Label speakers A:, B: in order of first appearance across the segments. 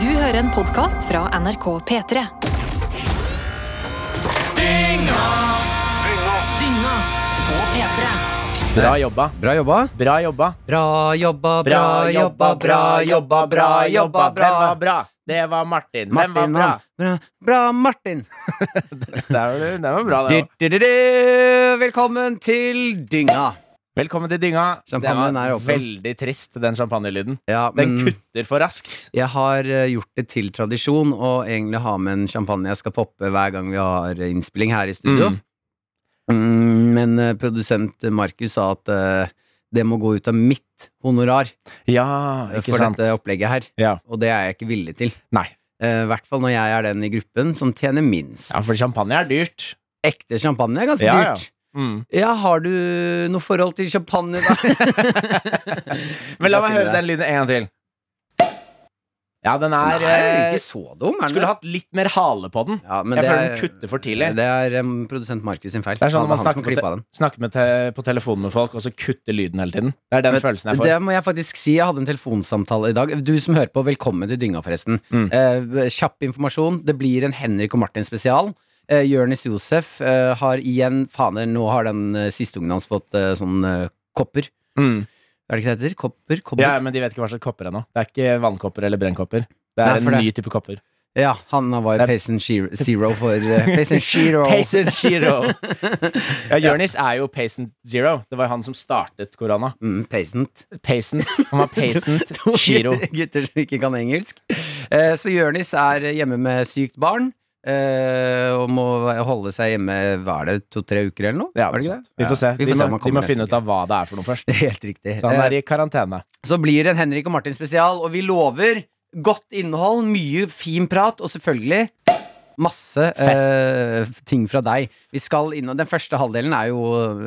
A: Du hører en podkast fra NRK P3.
B: Dynga på P3.
C: Bra jobba.
D: Bra jobba.
C: Bra jobba.
D: Bra jobba,
C: Bra jobba, bra jobba, bra jobba. Hvem var bra? Det var Martin. Hvem var
D: Martin,
C: bra?
D: han. bra. Bra, Martin.
C: Der var du. Den var bra, det
D: Du,
C: òg.
D: du, du, du. Velkommen til Dynga.
C: Velkommen til dynga.
D: Champagnen
C: Den var
D: er åpen. Mm.
C: Veldig trist, den champagnelyden.
D: Ja,
C: Den
D: men
C: kutter for raskt.
D: jeg har eh, gjort det til tradisjon å egentlig ha med en champagne jeg skal poppe hver gang vi har innspilling her i studio.
C: Mm.
D: Mm, men eh, produsent Markus sa at eh, det må gå ut av mitt honorar
C: Ja,
D: eh,
C: ikke
D: for
C: sant.
D: dette opplegget her.
C: Ja.
D: Og det er jeg ikke villig til. Eh,
C: Nei.
D: I hvert fall når jeg er den i gruppen som tjener minst.
C: Ja, for champagne er dyrt. Mm.
D: Ekte champagne er ganske
C: Ja, ja.
D: dyrt. Ja, har du noe forhold til champagne, da?
C: Men la meg høre den lyden en gang til. Ja, den
D: Nei,
C: er eh,
D: ikke så dum. Er den
C: Skulle
D: det?
C: hatt litt mer hale på den.
D: ja, men
C: Jeg
D: det
C: føler den
D: er-
C: kutter for tidlig.
D: Det er em, produsent Markus sin feil.
C: Det er sånn når
D: Han-
C: man
D: han som
C: snakker
D: har klippet
C: på,
D: den.
C: te snakker med te på telefonen med folk, og så kutter lyden hele tiden. Det er den
D: Vet-
C: følelsen jeg får.
D: Det må jeg faktisk si. Jeg hadde en telefonsamtale i dag. Du som hører på, velkommen til Dynga, forresten.
C: Mm.
D: Eh, kjapp informasjon. Det blir en Henrik og Martin-spesial. Eh, Jørnis Josef eh, har igjen Faner, nå har den eh, siste ungen hans fått eh, sånn eh, kopper.
C: Mm.
D: Er det ikke det heter? Kopper? kopper.
C: Ja, men de vet ikke hva slags kopper ennå. Det er ikke vannkopper eller brennkopper. Det
D: Nei,
C: er
D: for
C: en
D: det-
C: ny type kopper.
D: Ja, han var
C: Det er-
D: Patient Shiro- Zero for eh, Patient Zero.
C: Patient Zero. ja, Jonis er jo Patient Zero. Det var jo han som startet korona.
D: Mm, Patient.
C: Patient. Han var Patient Zero.
D: Gutter som ikke kan engelsk. Eh, Så Jørnis er hjemme med sykt barn. eh, og må holde seg hjemme hva er det, to-tre uker eller noe?
C: Ja,
D: er det ikke det?
C: vi får se.
D: Vi får
C: De
D: se om
C: må,
D: han
C: de
D: kommer
C: må finne
D: neste
C: ut av hva det er for noe først.
D: Helt riktig.
C: Så han
D: Eh,
C: er i karantene.
D: Så blir det en Henrik og Martin spesial, og vi lover godt innhold, mye fin prat, og selvfølgelig masse eh, ting fra deg. Vi skal inn, og Den første halvdelen er jo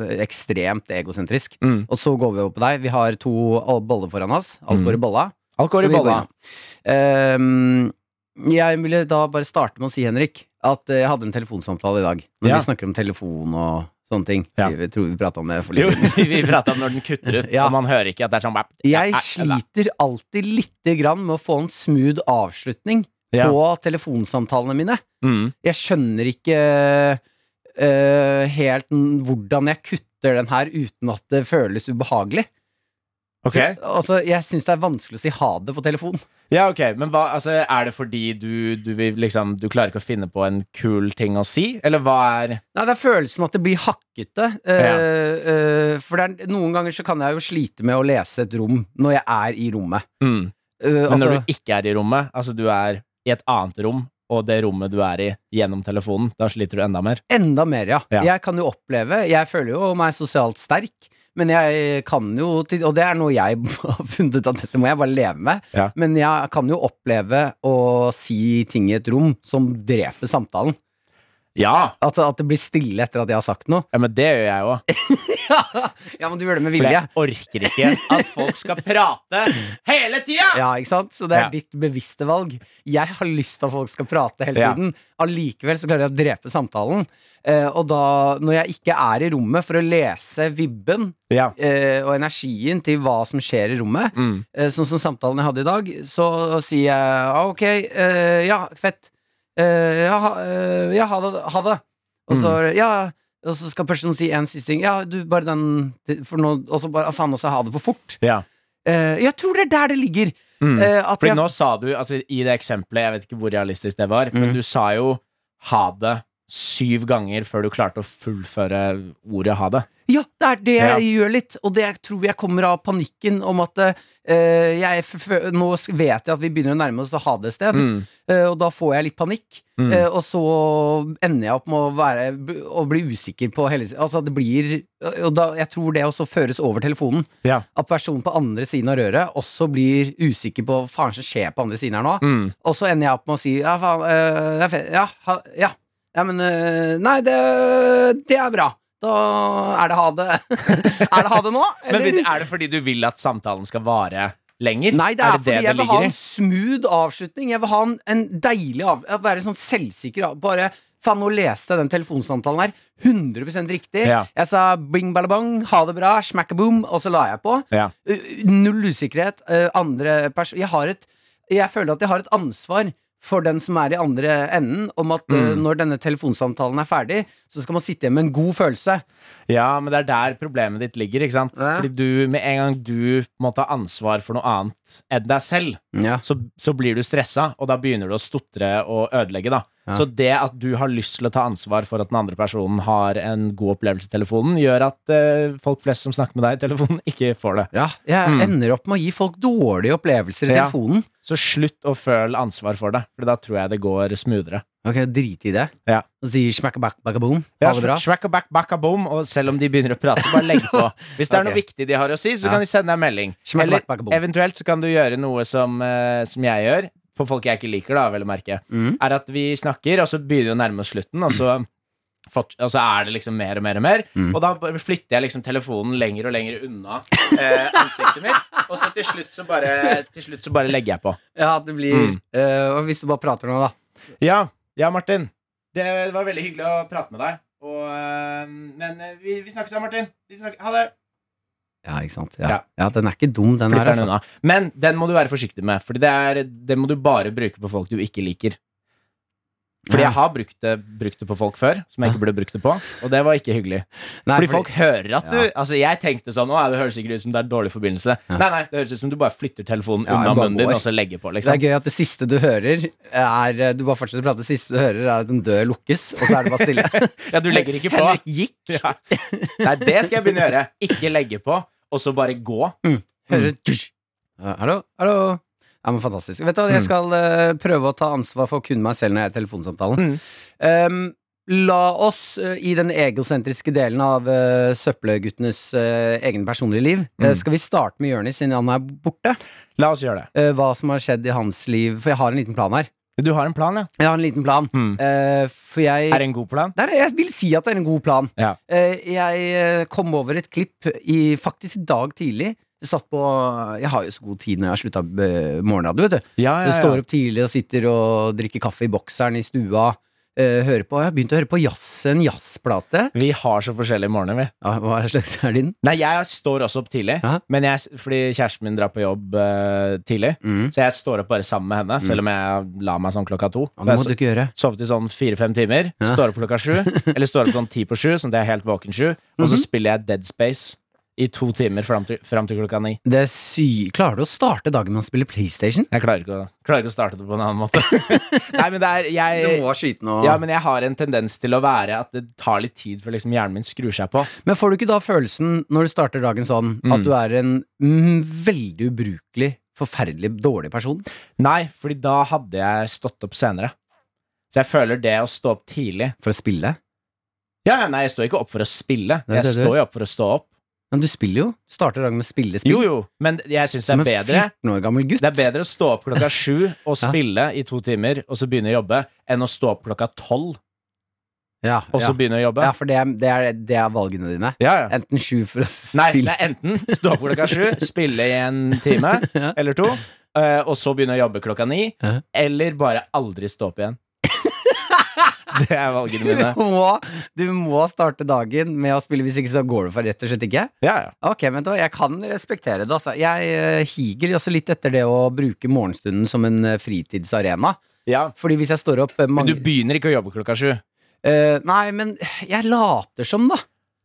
D: eh, ekstremt egosentrisk.
C: Mm.
D: Og så går vi over på deg. Vi har to al- boller foran oss. Alt går i bolla.
C: Alt går
D: Skal
C: i
D: vi
C: bolla.
D: gå? Ehm, jeg ville da bare starte med å si, Henrik, at eh, jeg hadde en telefonsamtale i dag. Når
C: Ja.
D: vi snakker om telefon og sånne ting.
C: Ja.
D: Vi, vi tror vi prata om det for litt
C: Jo,
D: siden.
C: vi prata om når den kutter ut,
D: Ja.
C: og man hører ikke at det er sånn
D: Jeg sliter alltid lite grann med å få en smooth avslutning
C: Ja.
D: på telefonsamtalene mine.
C: Mm.
D: Jeg skjønner ikke eh, helt n- hvordan jeg kutter den her uten at det føles ubehagelig.
C: Ok.
D: Altså, jeg syns det er vanskelig å si ha det på telefon.
C: Ja, ok, men hva, altså, Er det fordi du, du, vil liksom, du klarer ikke å finne på en kul ting å si? Eller hva er
D: Nei, det er følelsen at det blir hakkete. eh, eh, for det er, noen ganger så kan jeg jo slite med å lese et rom når jeg er i rommet.
C: Mm.
D: Eh,
C: Men
D: altså-
C: når du ikke er i rommet, altså du er i et annet rom, og det rommet du er i gjennom telefonen, da sliter du enda mer.
D: Enda mer, ja.
C: Ja.
D: Jeg kan jo oppleve Jeg føler jo meg sosialt sterk, men jeg kan jo til- Og det er noe jeg har funnet ut at dette må jeg bare leve med.
C: Ja.
D: Men jeg kan jo oppleve å si ting i et rom som dreper samtalen.
C: Ja!
D: At, at det blir stille etter at jeg har sagt noe.
C: men det gjør jeg òg.
D: ja, men du gjør det med
C: For
D: vilje.
C: jeg orker ikke at folk skal prate hele tida!
D: Ja, ikke sant? Så det er
C: Ja.
D: ditt bevisste valg. Jeg har lyst til at folk skal prate hele
C: Ja.
D: tiden. Allikevel så klarer jeg å drepe samtalen. Eh, og da, når jeg ikke er i rommet for å lese vibben
C: Ja.
D: eh, og energien til hva som skjer i rommet,
C: Mm.
D: eh, sånn som samtalen jeg hadde i dag, så sier jeg ah, ok, eh, ja, fett. Eh, ja, ha, eh, ja, ha det. Ha det. Og så,
C: Mm.
D: ja, og så skal personen si en siste ting. Ja, du, bare den for nå, Og så bare ah, faen også ha det for fort.
C: ja.
D: Eh, jeg tror det er der det ligger.
C: Mm.
D: Eh, at
C: Fordi
D: jeg,
C: nå sa du, altså i det eksempelet, jeg vet ikke hvor realistisk det var, men
D: Mm.
C: du sa jo ha det syv ganger før du klarte å fullføre ordet ha det.
D: Ja, det er det jeg gjør litt, og det tror jeg kommer av panikken om at eh, jeg f f Nå s- vet jeg at vi begynner å nærme oss å ha det et sted, eh, og da får jeg litt panikk.
C: Mm.
D: eh, og så ender jeg opp med å, være, b- å bli usikker på hele s- Altså, det blir Og da, jeg tror det også føres over telefonen.
C: Ja.
D: At personen på andre siden av røret også blir usikker på hva faen som skjer på andre siden her nå.
C: Mm.
D: Og så ender jeg opp med å si ja, faen, øh, det er fe- ja, ha, ja. ja men øh, nei, det, det er bra. Da er det ha det. er det ha det nå?
C: Men
D: eller?
C: vil- er det fordi du vil at samtalen skal vare lenger?
D: Nei, det er, fordi
C: det
D: jeg
C: det
D: vil ha
C: ligger i?
D: en smooth avslutning. Jeg vil ha en, en deilig av... jeg vil Være sånn selvsikker. av- Bare faen, nå leste jeg den telefonsamtalen her 100 riktig.
C: Ja.
D: Jeg sa bing balabong, ha det bra, smackaboom, og så la jeg på.
C: Ja.
D: Uh, Null usikkerhet. uh, Andre eh, pers... Jeg har et jeg føler at jeg har et ansvar for den som er i andre enden, om at eh,
C: Mm.
D: når denne telefonsamtalen er ferdig, så skal man sitte igjen med en god følelse.
C: Ja, men det er der problemet ditt ligger. ikke sant?
D: Ja.
C: Fordi du, Med en gang du må ta ansvar for noe annet enn deg selv, så, så blir du stressa, og da begynner du å stotre og ødelegge. da
D: Ja.
C: Så det at du har lyst til å ta ansvar for at den andre personen har en god opplevelse i telefonen, gjør at eh, folk flest som snakker med deg i telefonen, ikke får det.
D: Ja, jeg
C: Mm.
D: ender opp med å gi folk dårlige opplevelser i
C: Ja.
D: telefonen.
C: Så slutt å føle ansvar for det, for da tror jeg det går smoothere.
D: Ok, drit i det.
C: Ja.
D: Og sier smakka-bakka-boom.
C: Ja,
D: Ha det bra.
C: smack a back, back a boom, og selv om de begynner å prate, bare legg på. Hvis det er noe
D: Ok.
C: viktig de har å si, så
D: Ja.
C: kan de sende deg en melding. Eller
D: Smakka-bakka-boom.
C: eventuelt så kan du gjøre noe som, eh, som jeg gjør, på folk jeg ikke liker, da, vel å merke.
D: Mm.
C: er at vi snakker, og så begynner vi å nærme oss slutten, og så, fort, og så er det liksom mer og mer og mer.
D: Mm.
C: Og da bare flytter jeg liksom telefonen lenger og lenger unna eh, ansiktet mitt, og så til slutt så bare, til slutt så bare legger jeg på.
D: Ja, at det blir
C: Mm.
D: eh, Og hvis du bare prater nå, da.
C: Ja, ja, Martin. Det var veldig hyggelig å prate med deg. Og, eh, men eh, vi, vi snakkes da, Martin. Vi snakkes. Ha det.
D: Ja, ikke sant.
C: Ja.
D: Ja, ja den er ikke dum, den her.
C: Flytter den
D: Altså.
C: unna. Men den må du være forsiktig med, for det, er- det må du bare bruke på folk du ikke liker. Fordi
D: Ja.
C: jeg har brukt det, brukt det på folk før, som jeg ikke burde brukt det på, og det var ikke hyggelig.
D: Nei,
C: fordi, folk hører at du
D: Ja.
C: Altså Jeg tenkte sånn Å, det høres sikkert ut som det er dårlig forbindelse.
D: Ja.
C: Nei, nei, det høres ut som du bare flytter telefonen
D: Ja,
C: unna
D: jeg bare
C: munnen din
D: går.
C: og så legger på.
D: Det er
C: Liksom.
D: gøy at det siste du hører, er eh, Du bare fortsetter å prate, det siste du hører, er at en dør lukkes, og så er det bare stille.
C: Ja, du legger ikke på.
D: Henrik gikk.
C: Ja. Nei, det skal jeg begynne å gjøre. Ikke legge på, og så bare gå.
D: Hører tusj. Ja, Hallo? Hallo? Ja, men Fantastisk. Vet du hva, Jeg
C: Mm.
D: skal eh, prøve å ta ansvar for kun meg selv når jeg er i telefonsamtalen.
C: Mm.
D: Ehm, la oss eh, i den egosentriske delen av eh, søppelguttenes eh, egne personlige liv eh,
C: Mm.
D: Skal vi starte med Jonis, siden han er borte?
C: La oss gjøre det.
D: Eh, hva som har skjedd i hans liv? For jeg har en liten plan her.
C: Du har en plan, ja?
D: Jeg har en liten plan.
C: Hmm.
D: Eh, for jeg
C: Mm. Er det en god plan?
D: Det er- jeg vil si at det er en god plan.
C: Ja.
D: Eh, jeg eh, kom over et klipp i, faktisk i dag tidlig. Jeg, satt på, jeg har jo så god tid når jeg har slutta eh, morgenradio. vet du.
C: Ja,
D: Så jeg står opp tidlig og sitter og drikker kaffe i bokseren i stua. eh, hører på, jeg har begynt å høre på jazz, en jazzplate.
C: Vi har så forskjellige morgener, vi.
D: Ja, hva slags er din?
C: Nei, jeg står også opp tidlig,
D: Ja.
C: men jeg, fordi kjæresten min drar på jobb eh, tidlig.
D: Mm.
C: Så jeg står opp bare sammen med henne, selv om jeg la meg sånn klokka to.
D: Ja, det må du ikke gjøre.
C: Sovet i sånn fire-fem timer.
D: Ja.
C: Står opp klokka sju. Eller står opp sånn ti på sju, sånn at jeg er helt våken sju. Og så
D: Mhm.
C: spiller jeg Dead Space i to timer fram til, fram til klokka ni.
D: Det er sy Klarer du å starte dagen med å spille PlayStation?
C: Jeg klarer ikke å, klarer ikke å starte det på en annen måte. Nei, men det er jeg,
D: skyte nå.
C: ja,
D: men,
C: men jeg har en tendens til å være at det tar litt tid før liksom hjernen min skrur seg på.
D: får du ikke da følelsen, når du starter dagen sånn,
C: Mm.
D: at du er en mm, veldig ubrukelig, forferdelig dårlig person?
C: Nei, fordi da hadde jeg stått opp senere. Så jeg føler det å stå opp tidlig
D: For å spille?
C: Ja, ja, nei, jeg står ikke opp for å spille.
D: Det er
C: Jeg
D: det du
C: står jo opp for å stå opp.
D: Men du spiller jo. Starter dagen med å spille spill.
C: Jo, jo, men jeg syns det er
D: Mm. Som en
C: bedre
D: 14 år gammel gutt.
C: Det er bedre å stå opp klokka sju og
D: Ja.
C: spille i to timer, og så begynne å jobbe, enn å stå opp klokka tolv
D: Ja,
C: og så
D: ja.
C: begynne å jobbe.
D: ja for det er, det, er, det er valgene dine.
C: Ja, ja.
D: Enten sju for å
C: Nei, det
D: spille
C: er enten stå opp klokka sju, spille i en time
D: Ja.
C: eller to, eh, og så begynne å jobbe klokka ni,
D: Ja.
C: eller bare aldri stå opp igjen. Det er valgene mine.
D: du må, du må starte dagen med å spille, hvis ikke så går det for rett og slett ikke.
C: Ja, ja.
D: Ok, men da, Jeg kan respektere det. altså Jeg eh, higer også litt etter det å bruke morgenstunden som en eh, fritidsarena.
C: ja.
D: Fordi hvis jeg står opp eh,
C: Men
D: mange,
C: du begynner ikke å jobbe klokka sju.
D: Eh, Nei, men jeg later som, da.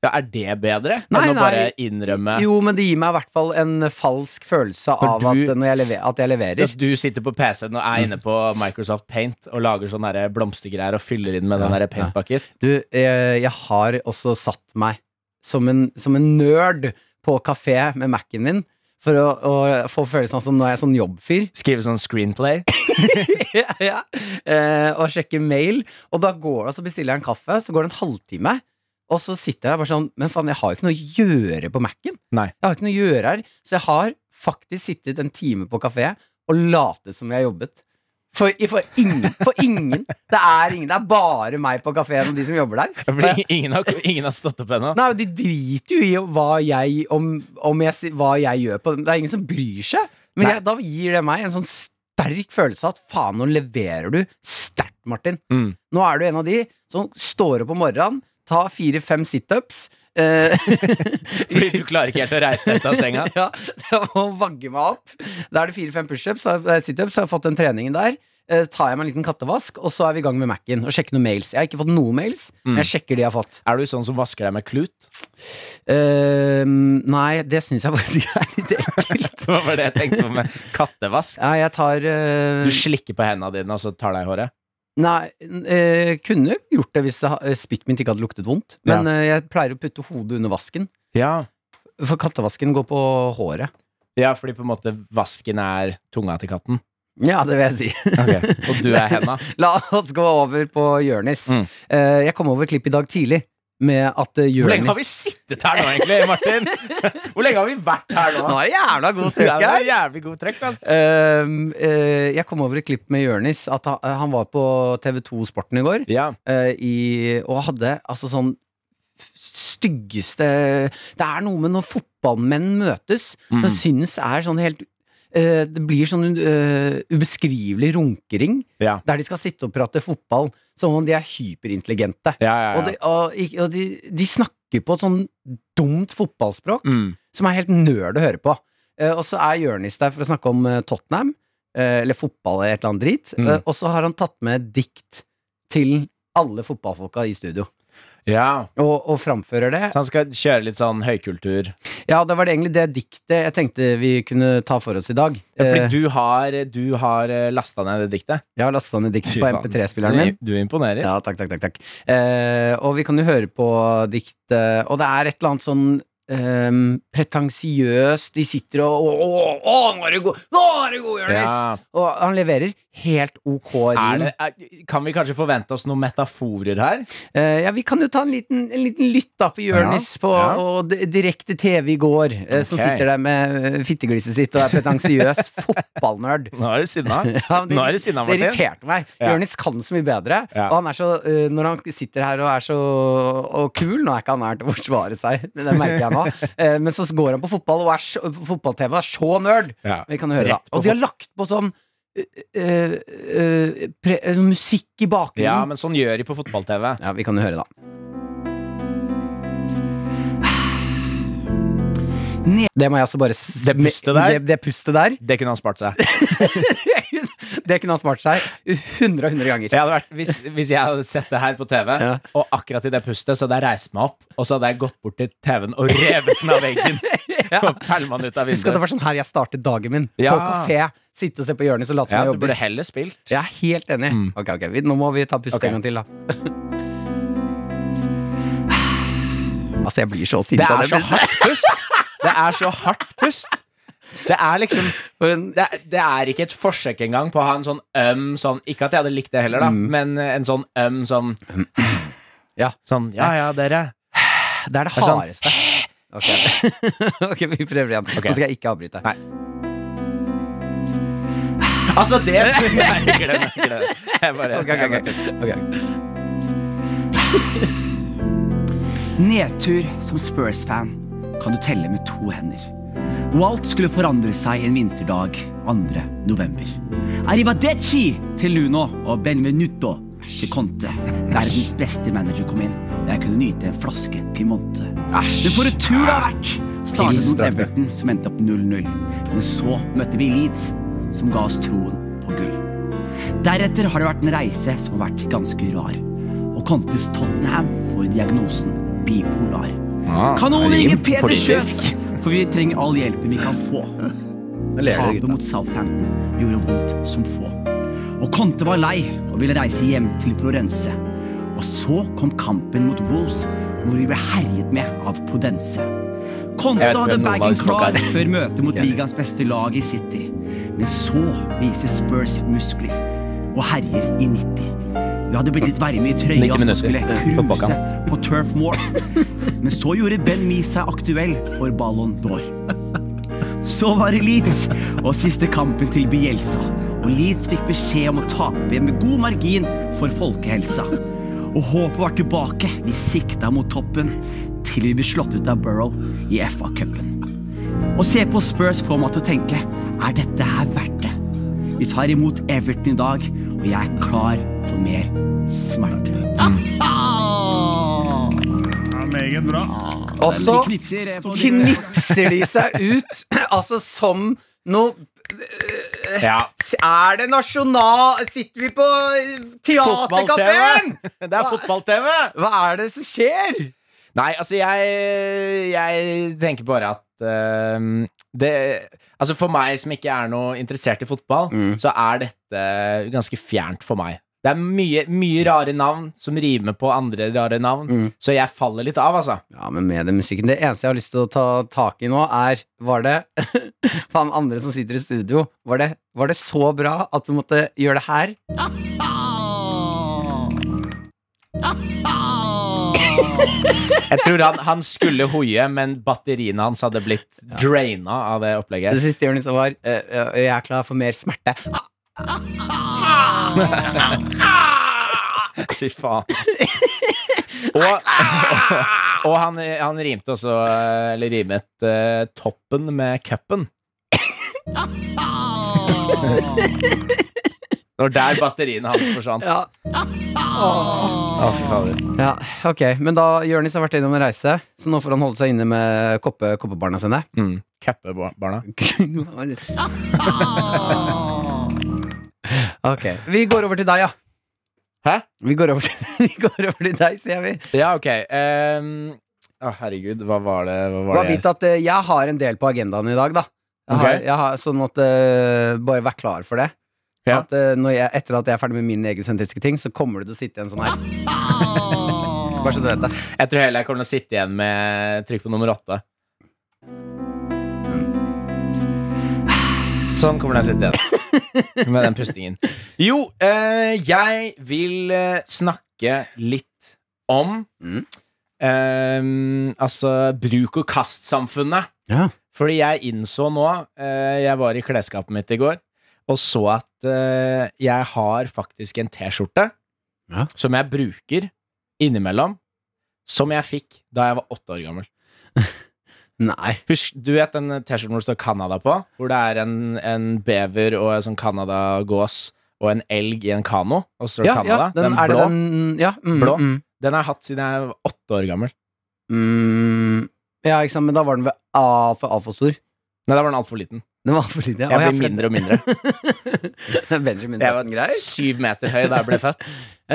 C: Ja, er det bedre enn
D: Nei,
C: å bare
D: nei.
C: innrømme
D: Jo, men det gir meg i hvert fall en falsk følelse
C: Når
D: av
C: du-
D: at, eh, når jeg lever, at jeg leverer.
C: at du sitter på PC-en og
D: Mm.
C: er inne på Microsoft Paint og lager sånne der blomstergreier og fyller inn med den
D: Ja,
C: der
D: ja.
C: paintbucket?
D: Du, eh, jeg har også satt meg som en, som en nerd på kafé med Mac-en min. For å, å få følelsen av som nå er jeg sånn jobbfyr.
C: Skrive sånn screenplay?
D: ja, ja. Eh, og sjekker mail. Og da går det, og så bestiller jeg en kaffe, så går det en halvtime. Og så sitter jeg bare sånn Men faen, jeg har jo ikke noe å gjøre på Mac-en.
C: Nei.
D: Jeg har ikke noe å gjøre her. Så jeg har faktisk sittet en time på kafé og latet som jeg jobbet. For, for, ingen, for ingen. Det er ingen. Det er bare meg på kafeen og de som jobber der.
C: Ja, Fordi ingen har, ingen har stått opp ennå.
D: Nei, De driter jo i hva jeg, om, om jeg, si- hva jeg gjør på dem. Det er ingen som bryr seg. Men
C: Nei.
D: jeg, da gir det meg en sånn sterk følelse av at faen, nå leverer du sterkt, Martin.
C: Mm.
D: Nå er du en av de som står opp om morgenen, tar fire-fem situps, eh,
C: Fordi du klarer ikke helt å reise deg ut av senga.
D: ja, så jeg må vagge meg opp. Da er det fire-fem pushups, så har jeg- situps, så har jeg fått den treningen der. Eh, tar jeg meg en liten kattevask, og så er vi i gang med Mac-en. Og sjekker noen mails. Jeg har ikke fått noen mails,
C: Mm.
D: men jeg sjekker de jeg har fått.
C: Er du sånn som vasker deg med klut?
D: Eh, nei, det syns jeg faktisk er litt ekkelt.
C: Det var det jeg tenkte på med kattevask.
D: Ja, jeg tar eh,
C: Du slikker på hendene dine, og så tar deg i håret.
D: Nei, eh, kunne gjort det hvis det ha- eh, spyttet mitt ikke hadde luktet vondt. Men eh, jeg pleier å putte hodet under vasken.
C: Ja.
D: For kattevasken går på håret.
C: ja, fordi på en måte vasken er tunga til katten.
D: Ja, det vil jeg si.
C: Og du er henda.
D: La oss gå over på Jørnis.
C: Mm.
D: Eh, jeg kom over klipp i dag tidlig med at eh,
C: Hvor lenge har
D: Jørnis
C: vi sittet her nå, egentlig, Martin? Hvor lenge har vi vært her nå?
D: Nå er det jævla god
C: Det
D: trykk
C: er
D: her!
C: jævlig god trekk, altså. ass.
D: Eh, eh, jeg kom over et klipp med Jørnis. At han, eh, han var på TV2 Sporten i går.
C: Ja.
D: eh, i, og hadde altså sånn f- styggeste Det er noe med når fotballmenn møtes
C: Mm.
D: som jeg synes er sånn helt eh, Det blir sånn eh, ubeskrivelig runkering,
C: Ja.
D: der de skal sitte og prate fotball som om de er hyperintelligente.
C: Ja, ja, ja.
D: Og, de, og, ikk- og de, de snakker på et sånn dumt fotballspråk
C: mm.
D: som er helt nerd å høre på. Eh, og så er Jørnis der for å snakke om eh, Tottenham, eh, eller fotball eller et eller annet drit.
C: Mm.
D: Eh, og så har han tatt med dikt til alle fotballfolka i studio,
C: ja.
D: og, og framfører det.
C: Så han skal kjøre litt sånn høykultur.
D: Ja, det var det egentlig det diktet jeg tenkte vi kunne ta for oss i dag.
C: Ja,
D: Eh,
C: fordi du har, du har lasta ned det diktet.
D: jeg har lasta ned dikt på MP3-spilleren min.
C: Du imponerer.
D: Ja, takk, takk, takk, takk. Eh, og vi kan jo høre på dikt, eh, og det er et eller annet sånn eh, pretensiøst. De sitter og Å, å, å, nå er du god! Nå er du god, Jonis!
C: Ja.
D: Og han leverer helt ok
C: Er
D: rim.
C: det, er, kan vi kanskje forvente oss noen metaforer her?
D: Eh, ja, vi kan jo ta en liten, en liten lytt da på Jonis på
C: ja.
D: og d- direkte TV i går, eh, som
C: Ok.
D: sitter der med eh, fittegliset sitt og er pretensiøs fotballnerd.
C: Nå er du sinna.
D: Ja, men det-
C: Nå er du sinna,
D: Det
C: Martin.
D: irriterte meg.
C: Ja.
D: Jonis kan så mye bedre.
C: Ja.
D: Og han er så, eh, når han sitter her og er så og kul Nå er ikke han her til å forsvare seg, men det merker jeg nå. Eh, men så går han på fotball og er så- på fotball-TV og er så nerd.
C: Ja.
D: Vi kan høre da.
C: Rett på
D: Og de har lagt på sånn eh, eh, eh, pre, eh, musikk i bakgrunnen.
C: ja, men sånn gjør de på fotball-TV.
D: Ja, vi kan jo høre, da. Det må jeg også bare s-
C: Det pustet der?
D: Det, det pustet der.
C: Det kunne han spart seg.
D: Det kunne han smart seg 100 og 100 ganger.
C: Jeg hadde vært, hvis, hvis jeg hadde sett det her på TV,
D: Ja.
C: og akkurat i det pustet, så hadde jeg reist meg opp, og så hadde jeg gått bort til TV-en og revet den av veggen. Og pælma den ut av
D: Husk at det
C: vinduet.
D: var sånn her jeg startet dagen min. På
C: Ja.
D: kafé. Sitte og se på Jonis og late som
C: Ja,
D: jeg
C: du
D: jobber.
C: burde heller spilt.
D: Jeg er helt enig. Ok, ok, vi, Nå må vi ta pustet
C: Ok.
D: en gang til, da. altså, jeg blir så
C: Det
D: sint av
C: er
D: det.
C: så
D: men-
C: hardt pust! Det er så hardt pust! Det er liksom
D: For en-
C: det, det er ikke et forsøk engang på å ha en sånn øm sånn Ikke at jeg hadde likt det heller, da,
D: Mm.
C: men en sånn øm sånn
D: Ja.
C: Sånn Ja ja, dere.
D: Det er det
C: Det er sånn-
D: hardeste. Ok, Ok, vi prøver igjen. Nå skal jeg ikke avbryte.
C: Nei. Altså, det Nei, glem det. Glem det. Jeg bare
D: Ok, ok, ok. Ok.
B: Nedtur som Spurs-fan kan du telle med to hender. Og alt skulle forandre seg en vinterdag 2. november. Arrivederci til Luno og benvenuto til Conte. Verdens beste manager kom inn, og jeg kunne nyte en flaske Piemonte. Men for en tur det har vært! Startet mot
D: Pilsdrappe.
B: Everton, som endte opp 0-0. Men så møtte vi Leeds, som ga oss troen på gull. Deretter har det vært en reise som har vært ganske rar. Og Contes Tottenham får diagnosen bipolar. Kan noen ringe Peter Kjøs? For vi trenger all hjelpen vi kan få.
D: Nå ler du,
B: Tapet
D: gutta.
B: mot Southampton gjorde vondt som få. Og Conte var lei og ville reise hjem til Florence. Og så kom kampen mot Wolves, hvor vi ble herjet med av Podense. Conte
C: Jeg vet ikke
B: hadde
C: hvem noen av
B: bagen
C: disse folka
B: klar
C: er.
B: før møtet mot ligaens beste lag i City. Men så viser Spurs muskler og herjer i 90. Vi hadde blitt litt varme i trøya
C: 90
B: og
C: minutter.
B: skulle
C: Fotballkamp.
B: cruise på Turf Moor. Men så gjorde Ben Mee seg aktuell for Ballon d'Or. Så var det Leeds og siste kampen til Bielsa. Og Leeds fikk beskjed om å tape med god margin for folkehelsa. Og håpet var tilbake. Vi sikta mot toppen til vi ble slått ut av Burrow i FA-cupen. Å se på Spurs får meg til å tenke er dette her verdt det? Vi tar imot Everton i dag, og jeg er klar for mer smerte.
E: Ja, meget meget bra.
D: Og så
B: Knipser eh, på dine-
D: knipser de seg ut, altså som noe øh,
C: Ja.
D: Er det nasjonal Sitter vi på teaterkafeen?
C: Fotball-TV! Det er fotball-TV!
D: Hva er det som skjer?
C: Nei, altså, jeg, jeg tenker bare at eh, det Altså, for meg som ikke er noe interessert i fotball,
D: Mm.
C: så er dette ganske fjernt for meg. Det er mye, mye rare navn som rimer på andre rare navn,
D: Mm.
C: så jeg faller litt av, altså.
D: Ja, men med den musikken Det eneste jeg har lyst til å ta tak i nå, er Var det Faen, andre som sitter i studio, var det, var det så bra at du måtte gjøre det her?
C: Jeg tror han, han skulle hoie, men batteriene hans hadde blitt draina av det
D: Det
C: opplegget.
D: siste Jonis sa, var eh, eh, Jeg er klar for mer smerte.
C: Fy faen. Og, og han, han rimte også Eller rimet eh, toppen med cupen. Det var der batteriene hans forsvant.
D: Ja,
C: Å, fy fader.
D: ja ok. Men da Jonis har vært innom en reise, så nå får han holde seg inne med koppe, koppebarna sine.
C: Mm. Cappe bar- barna.
D: ok. Vi går over til deg, ja.
C: Hæ?
D: Vi går over til, vi går over til deg, sier vi.
C: Ja, ok. ehm, å, herregud, hva var det Hva var
D: Bare
C: det?
D: vit at eh, jeg har en del på agendaen i dag, da. Jeg har,
C: Ok.
D: jeg har, sånn at eh, Bare vær klar for det.
C: Ja.
D: At, eh, når jeg, etter at jeg er ferdig med mine egosentriske ting, så kommer du til å sitte i en sånn her. Bare så du vet det.
C: Jeg tror heller jeg kommer til å sitte igjen med trykk på nummer åtte. Sånn kommer jeg til å sitte igjen. Med den pustingen. Jo, eh, jeg vil eh, snakke litt om
D: Mm.
C: eh, Altså bruk og kast-samfunnet.
D: Ja.
C: Fordi jeg innså nå eh, Jeg var i klesskapet mitt i går og så at eh, jeg har faktisk en T-skjorte
D: Ja.
C: som jeg bruker innimellom, som jeg fikk da jeg var åtte år gammel.
D: Nei.
C: Husk, du vet den T-skjorten hvor det står Canada på? Hvor det er en, en bever og en sånn Canada-gås og en elg i en kano, og så står det
D: Ja, ja,
C: Canada?
D: den,
C: den
D: er
C: blå?
D: det den ja, mm,
C: Blå?
D: Mm,
C: Den har jeg hatt siden jeg var åtte år gammel.
D: mm, ja, ikke sant, men da var den vel altfor altfor stor.
C: Nei, da var den altfor liten.
D: Den var for liten.
C: Jeg
D: ja. Å, ja,
C: blir
D: for
C: mindre og mindre.
D: det- Benjamin
C: Jeg var
D: Button-greier.
C: syv meter høy da jeg ble født.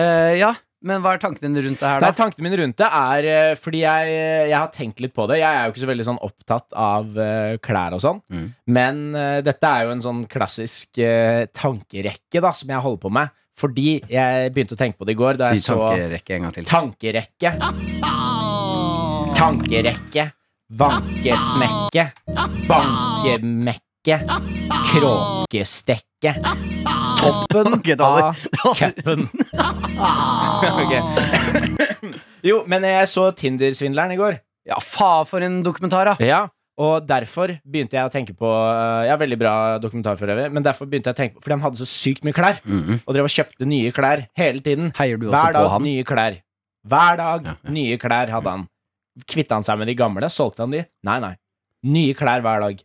D: Eh, ja, men hva er tankene dine rundt det her,
C: Nei,
D: da?
C: Tankene mine rundt det er eh, fordi jeg, jeg har tenkt litt på det. Jeg er jo ikke så veldig sånn opptatt av eh, klær og sånn,
D: Mm.
C: men eh, dette er jo en sånn klassisk eh, tankerekke da som jeg holder på med. Fordi jeg begynte å tenke på det i går da jeg
D: si
C: så
D: tankerekke en gang til.
C: Tankerekke. Tankerekke. Vankesmekke. Bankemekke. Kråkestekke. Toppen
D: Ok, det holder.
C: av cupen. Ok. Jo, men jeg så Tinder-svindleren i går.
D: Ja, faen for en dokumentar, da!
C: Ja, og derfor begynte jeg å tenke på eh, Ja, veldig bra dokumentar for øvrig, men derfor begynte jeg å tenke på Fordi han hadde så sykt mye klær, og drev og kjøpte nye klær hele tiden.
D: Heier du også
C: Mm-hmm. Hver dag
D: på han?
C: nye klær. Hver dag
D: Ja,
C: nye klær hadde han. Kvitta han seg med de gamle? Solgte han de? Nei, nei. Nye klær hver dag.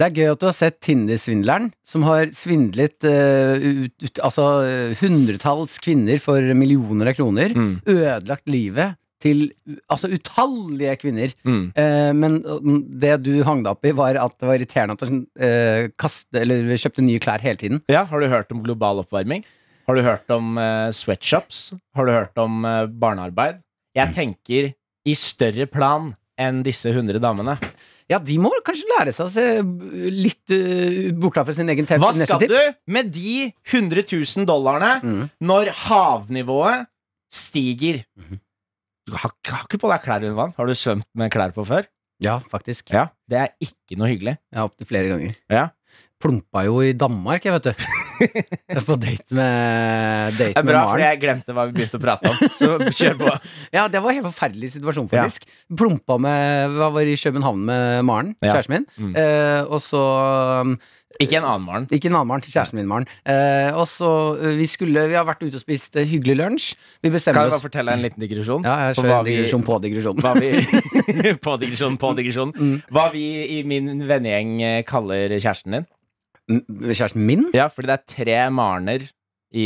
D: Det er gøy at du har sett Tinder-svindleren, som har svindlet eh, ut, ut, altså, eh, hundretalls kvinner for millioner av kroner.
C: Mm.
D: Ødelagt livet til u- altså, utallige kvinner.
C: Mm.
D: Eh, men mm, det du hang deg opp i, var at det var irriterende at han eh, kaste, eller kjøpte nye klær hele tiden.
C: Ja, har du hørt om global oppvarming? Har du hørt om eh, sweatshops? Har du hørt om eh, barnearbeid? Jeg tenker i større plan enn disse 100 damene.
D: Ja, de må kanskje lære seg å se b- litt uh, borta fra sin egen TV.
C: Hva skal du med de 100 000 dollarene
D: Mm.
C: når havnivået stiger? Du har, har ikke på deg klær under vann. Har du svømt med klær på før?
D: Ja, faktisk.
C: Ja. Det er ikke noe hyggelig.
D: Jeg har opptil flere ganger.
C: Ja.
D: Plumpa jo i Danmark, jeg, vet du. Jeg er på date med,
C: Det
D: date
C: er
D: med
C: bra, for
D: Maren.
C: jeg glemte hva vi begynte å prate om. Så kjør på.
D: Ja, det var en helt forferdelig situasjon, faktisk. Plumpa med Hva var i København med Maren,
C: Ja.
D: kjæresten min.
C: Mm.
D: Eh, og så um,
C: Ikke en annen morgen.
D: Ikke Maren, kjæresten min, Maren. Eh, og så eh, Vi skulle Vi har vært ute og spist eh, hyggelig lunsj. Vi
C: Kan
D: bestemmer
C: jeg bare
D: oss
C: fortelle en liten digresjon?
D: Ja, jeg
C: På
D: kjører
C: hva
D: en
C: vi-
D: digresjon på digresjon. Mm.
C: Hva vi, på digresjon, på digresjon. Hva vi i min vennegjeng eh, kaller kjæresten din.
D: M- Mm, Kjæresten min?
C: Ja, fordi det er tre Marener i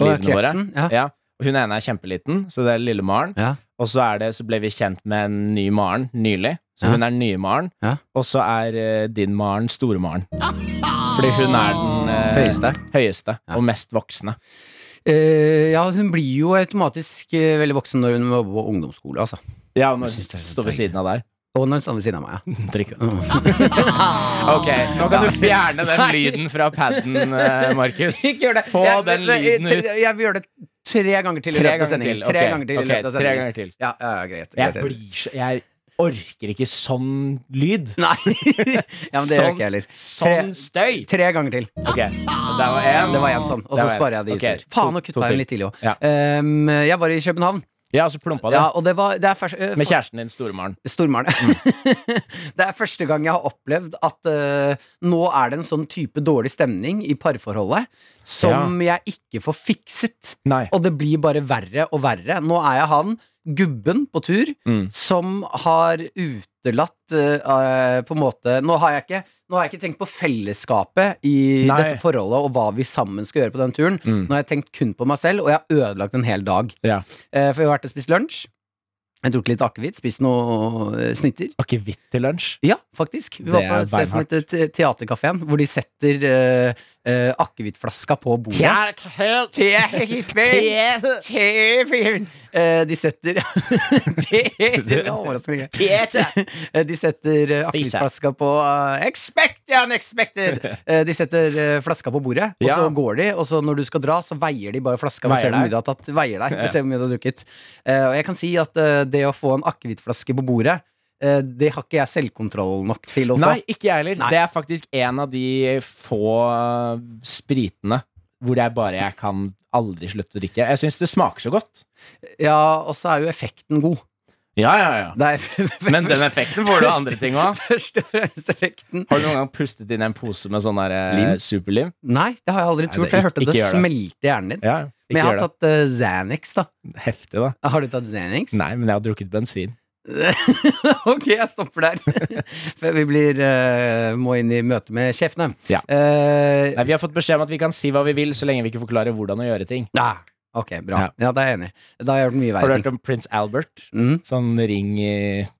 D: På
C: livene våre.
D: kretsen? Ja.
C: Ja. Hun ene er kjempeliten, så det er lille Maren.
D: Ja.
C: Og så, er det, så ble vi kjent med en ny Maren nylig. Så
D: Ja.
C: hun er den nye Maren.
D: Ja.
C: Og så er eh, din Maren store Maren. Fordi hun er den eh,
D: Høyeste.
C: høyeste
D: Ja.
C: og mest voksne.
D: Eh, ja, hun blir jo automatisk eh, veldig voksen når hun var på ungdomsskole, altså.
C: Ja, hun
D: Jeg synes det er
C: står ved
D: deilig.
C: siden av deg.
D: Og når hun står sånn ved siden av meg, ja.
C: Drikk det.
D: Mm.
C: Ok, nå kan du fjerne den
D: Nei.
C: lyden fra paden, eh, Markus.
D: Ikke gjør det.
C: Få
D: Jeg-
C: den
D: jeg- jeg-
C: lyden ut.
D: Jeg, jeg vil gjøre det tre ganger til i
C: Tre
D: løpet av
C: ganger til.
D: sendingen. Tre
C: ok,
D: ganger til i
C: ok,
D: løpet
C: tre
D: av sendingen.
C: ganger til.
D: Ja, ja, ja, greit. greit,
C: Jeg
D: greit.
C: blir så Jeg orker ikke sånn lyd.
D: Nei. ja, men det gjør
C: sånn,
D: ikke jeg heller.
C: Sånn støy.
D: Tre ganger til.
C: Ok, der var én.
D: Det var én sånn. Og
C: Der
D: så
C: var en.
D: sparer jeg de
C: Ok,
D: utover. Faen,
C: to-
D: nå
C: to
D: kutta jeg
C: til.
D: den litt tidlig òg.
C: Ja.
D: jeg var i København,
C: Ja, så plumpa du.
D: ja, og det var det er først, eh,
C: Med Mm. kjæresten din, Storemaren.
D: Stormaren. det er første gang jeg har opplevd at eh, nå er det en sånn type dårlig stemning i parforholdet som jeg ikke får fikset.
C: Nei.
D: Og det blir bare verre og verre. Nå er jeg han gubben på tur
C: Mm.
D: som har utelatt eh, eh, på en måte nå har, jeg ikke, nå har jeg ikke tenkt på fellesskapet i
C: Nei.
D: dette forholdet og hva vi sammen skal gjøre på den turen.
C: Mm.
D: Nå har jeg tenkt kun på meg selv, og jeg har ødelagt en hel dag.
C: Ja.
D: Eh, for jeg har vært og spist lunsj. Jeg tok litt akevitt, spist noe eh, snitter.
C: Akevitt til lunsj.
D: Ja, faktisk. Vi
C: Det
D: var på
C: er
D: et sted som
C: beinhardt.
D: heter Te- Teaterkafeen, hvor de setter uh, akevittflaska på bordet. Eh, De setter Det var overraskende gøy. Eh, De setter eh, akevittflaska på eh, Expect the unexpected! Eh, De setter eh, flaska på bordet, og
C: Ja.
D: så går de. Og så når du skal dra, så veier de bare flaska. Vi
C: Veier
D: ser hvor
C: deg.
D: mye du har tatt. Veier deg. Vi ser hvor mye du har drukket. Eh, Og jeg kan si at eh, det å få en akevittflaske på bordet, eh, det har ikke jeg selvkontroll nok til å få.
C: Nei, ikke jeg heller.
D: Nei.
C: Det er faktisk en av de få eh, spritene hvor det er bare jeg kan aldri slutte å drikke. Jeg syns det smaker så godt.
D: Ja, og så er jo effekten god.
C: Ja, ja, ja.
D: Det er
C: Men den effekten får du av andre ting òg.
D: Først og fremst effekten.
C: Har du noen gang pustet inn en pose med sånn der eh,
D: Lim?
C: superlim?
D: Nei, det har jeg aldri
C: Nei,
D: turt,
C: det-
D: for jeg hørte
C: ikke
D: at det
C: gjør det.
D: smelte i hjernen din.
C: Ja, ikke
D: Men jeg har
C: gjør det.
D: tatt eh, Xanax, da.
C: Heftig, da.
D: Har du tatt Xanax?
C: Nei, men jeg har drukket bensin.
D: ok, jeg stopper der. Før vi blir, eh, må inn i møte med sjefene.
C: Ja.
D: Eh,
C: Nei, Vi har fått beskjed om at vi kan si hva vi vil, så lenge vi ikke forklarer hvordan å gjøre ting.
D: ah, ok, bra. Ja. da er jeg enig. Da har jeg gjort mye
C: Har du
D: verre
C: hørt
D: ting.
C: om prins Albert?
D: Mm,
C: Sånn ring i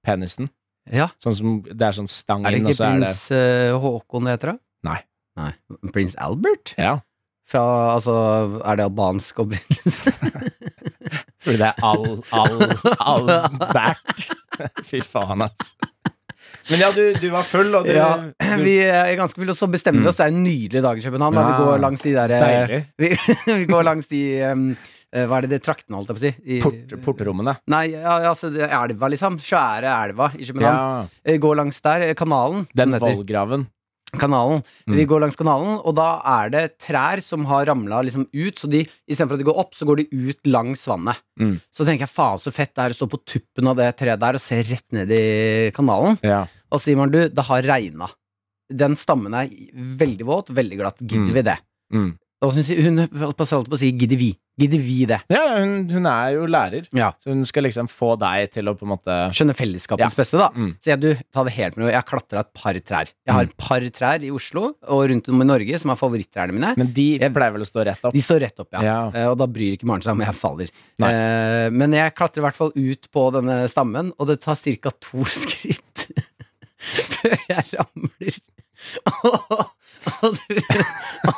C: penisen?
D: ja.
C: Sånn som, det er sånn stang
D: Er det
C: inn, og
D: ikke
C: så er det
D: prins eh, Håkon det heter, da?
C: Nei.
D: Nei. Prins Albert?
C: Ja.
D: Fra, altså, er det albansk opprinnelse?
C: Fordi det er all, all, all bært. Fy faen, ass. Men ja, du, du var full, og du,
D: Ja,
C: du
D: vi er ganske fulle, og så bestemmer vi oss. Det er en nydelig dag i København. Da. Vi
C: Mm. Ja.
D: går langs de der eh,
C: Deilig.
D: Vi, vi går langs de um, eh, Hva er det det traktene, holdt jeg på å si? I,
C: Port, Porterommene.
D: Nei, ja, ja, altså det er elva, liksom. Svære elva i København.
C: Ja.
D: Vi Går langs der. eh, Kanalen.
C: Den
D: heter.
C: vollgraven.
D: kanalen.
C: Mm.
D: Vi går langs kanalen, og da er det trær som har ramla liksom ut. Så de, istedenfor at de går opp, så går de ut langs vannet.
C: Mm.
D: Så tenker jeg faen så fett det er å stå på tuppen av det treet der og se rett ned i kanalen.
C: Ja.
D: Og så sier man du, det har regna. Den stammen er veldig våt, veldig glatt. Gidder
C: Mm.
D: vi det?
C: Mm.
D: Og så sier hun holdt på holdt på å si gidder vi? Gidder vi det?
C: ja, hun, hun er jo lærer,
D: Ja.
C: så hun skal liksom få deg til å på en måte
D: Skjønner fellesskapets beste, da.
C: Mm.
D: Så jeg, du, ta det helt med ro. Jeg har klatra et par trær. Jeg har et par trær i Oslo og rundt om i Norge som er favorittrærne mine.
C: Men de
D: Jeg-
C: pleier vel å stå rett opp?
D: De står rett opp, ja.
C: Ja.
D: Eh, Og da bryr ikke Maren seg om jeg faller.
C: Nei.
D: Eh, men jeg klatrer i hvert fall ut på denne stammen, og det tar ca. to skritt før jeg ramler. og du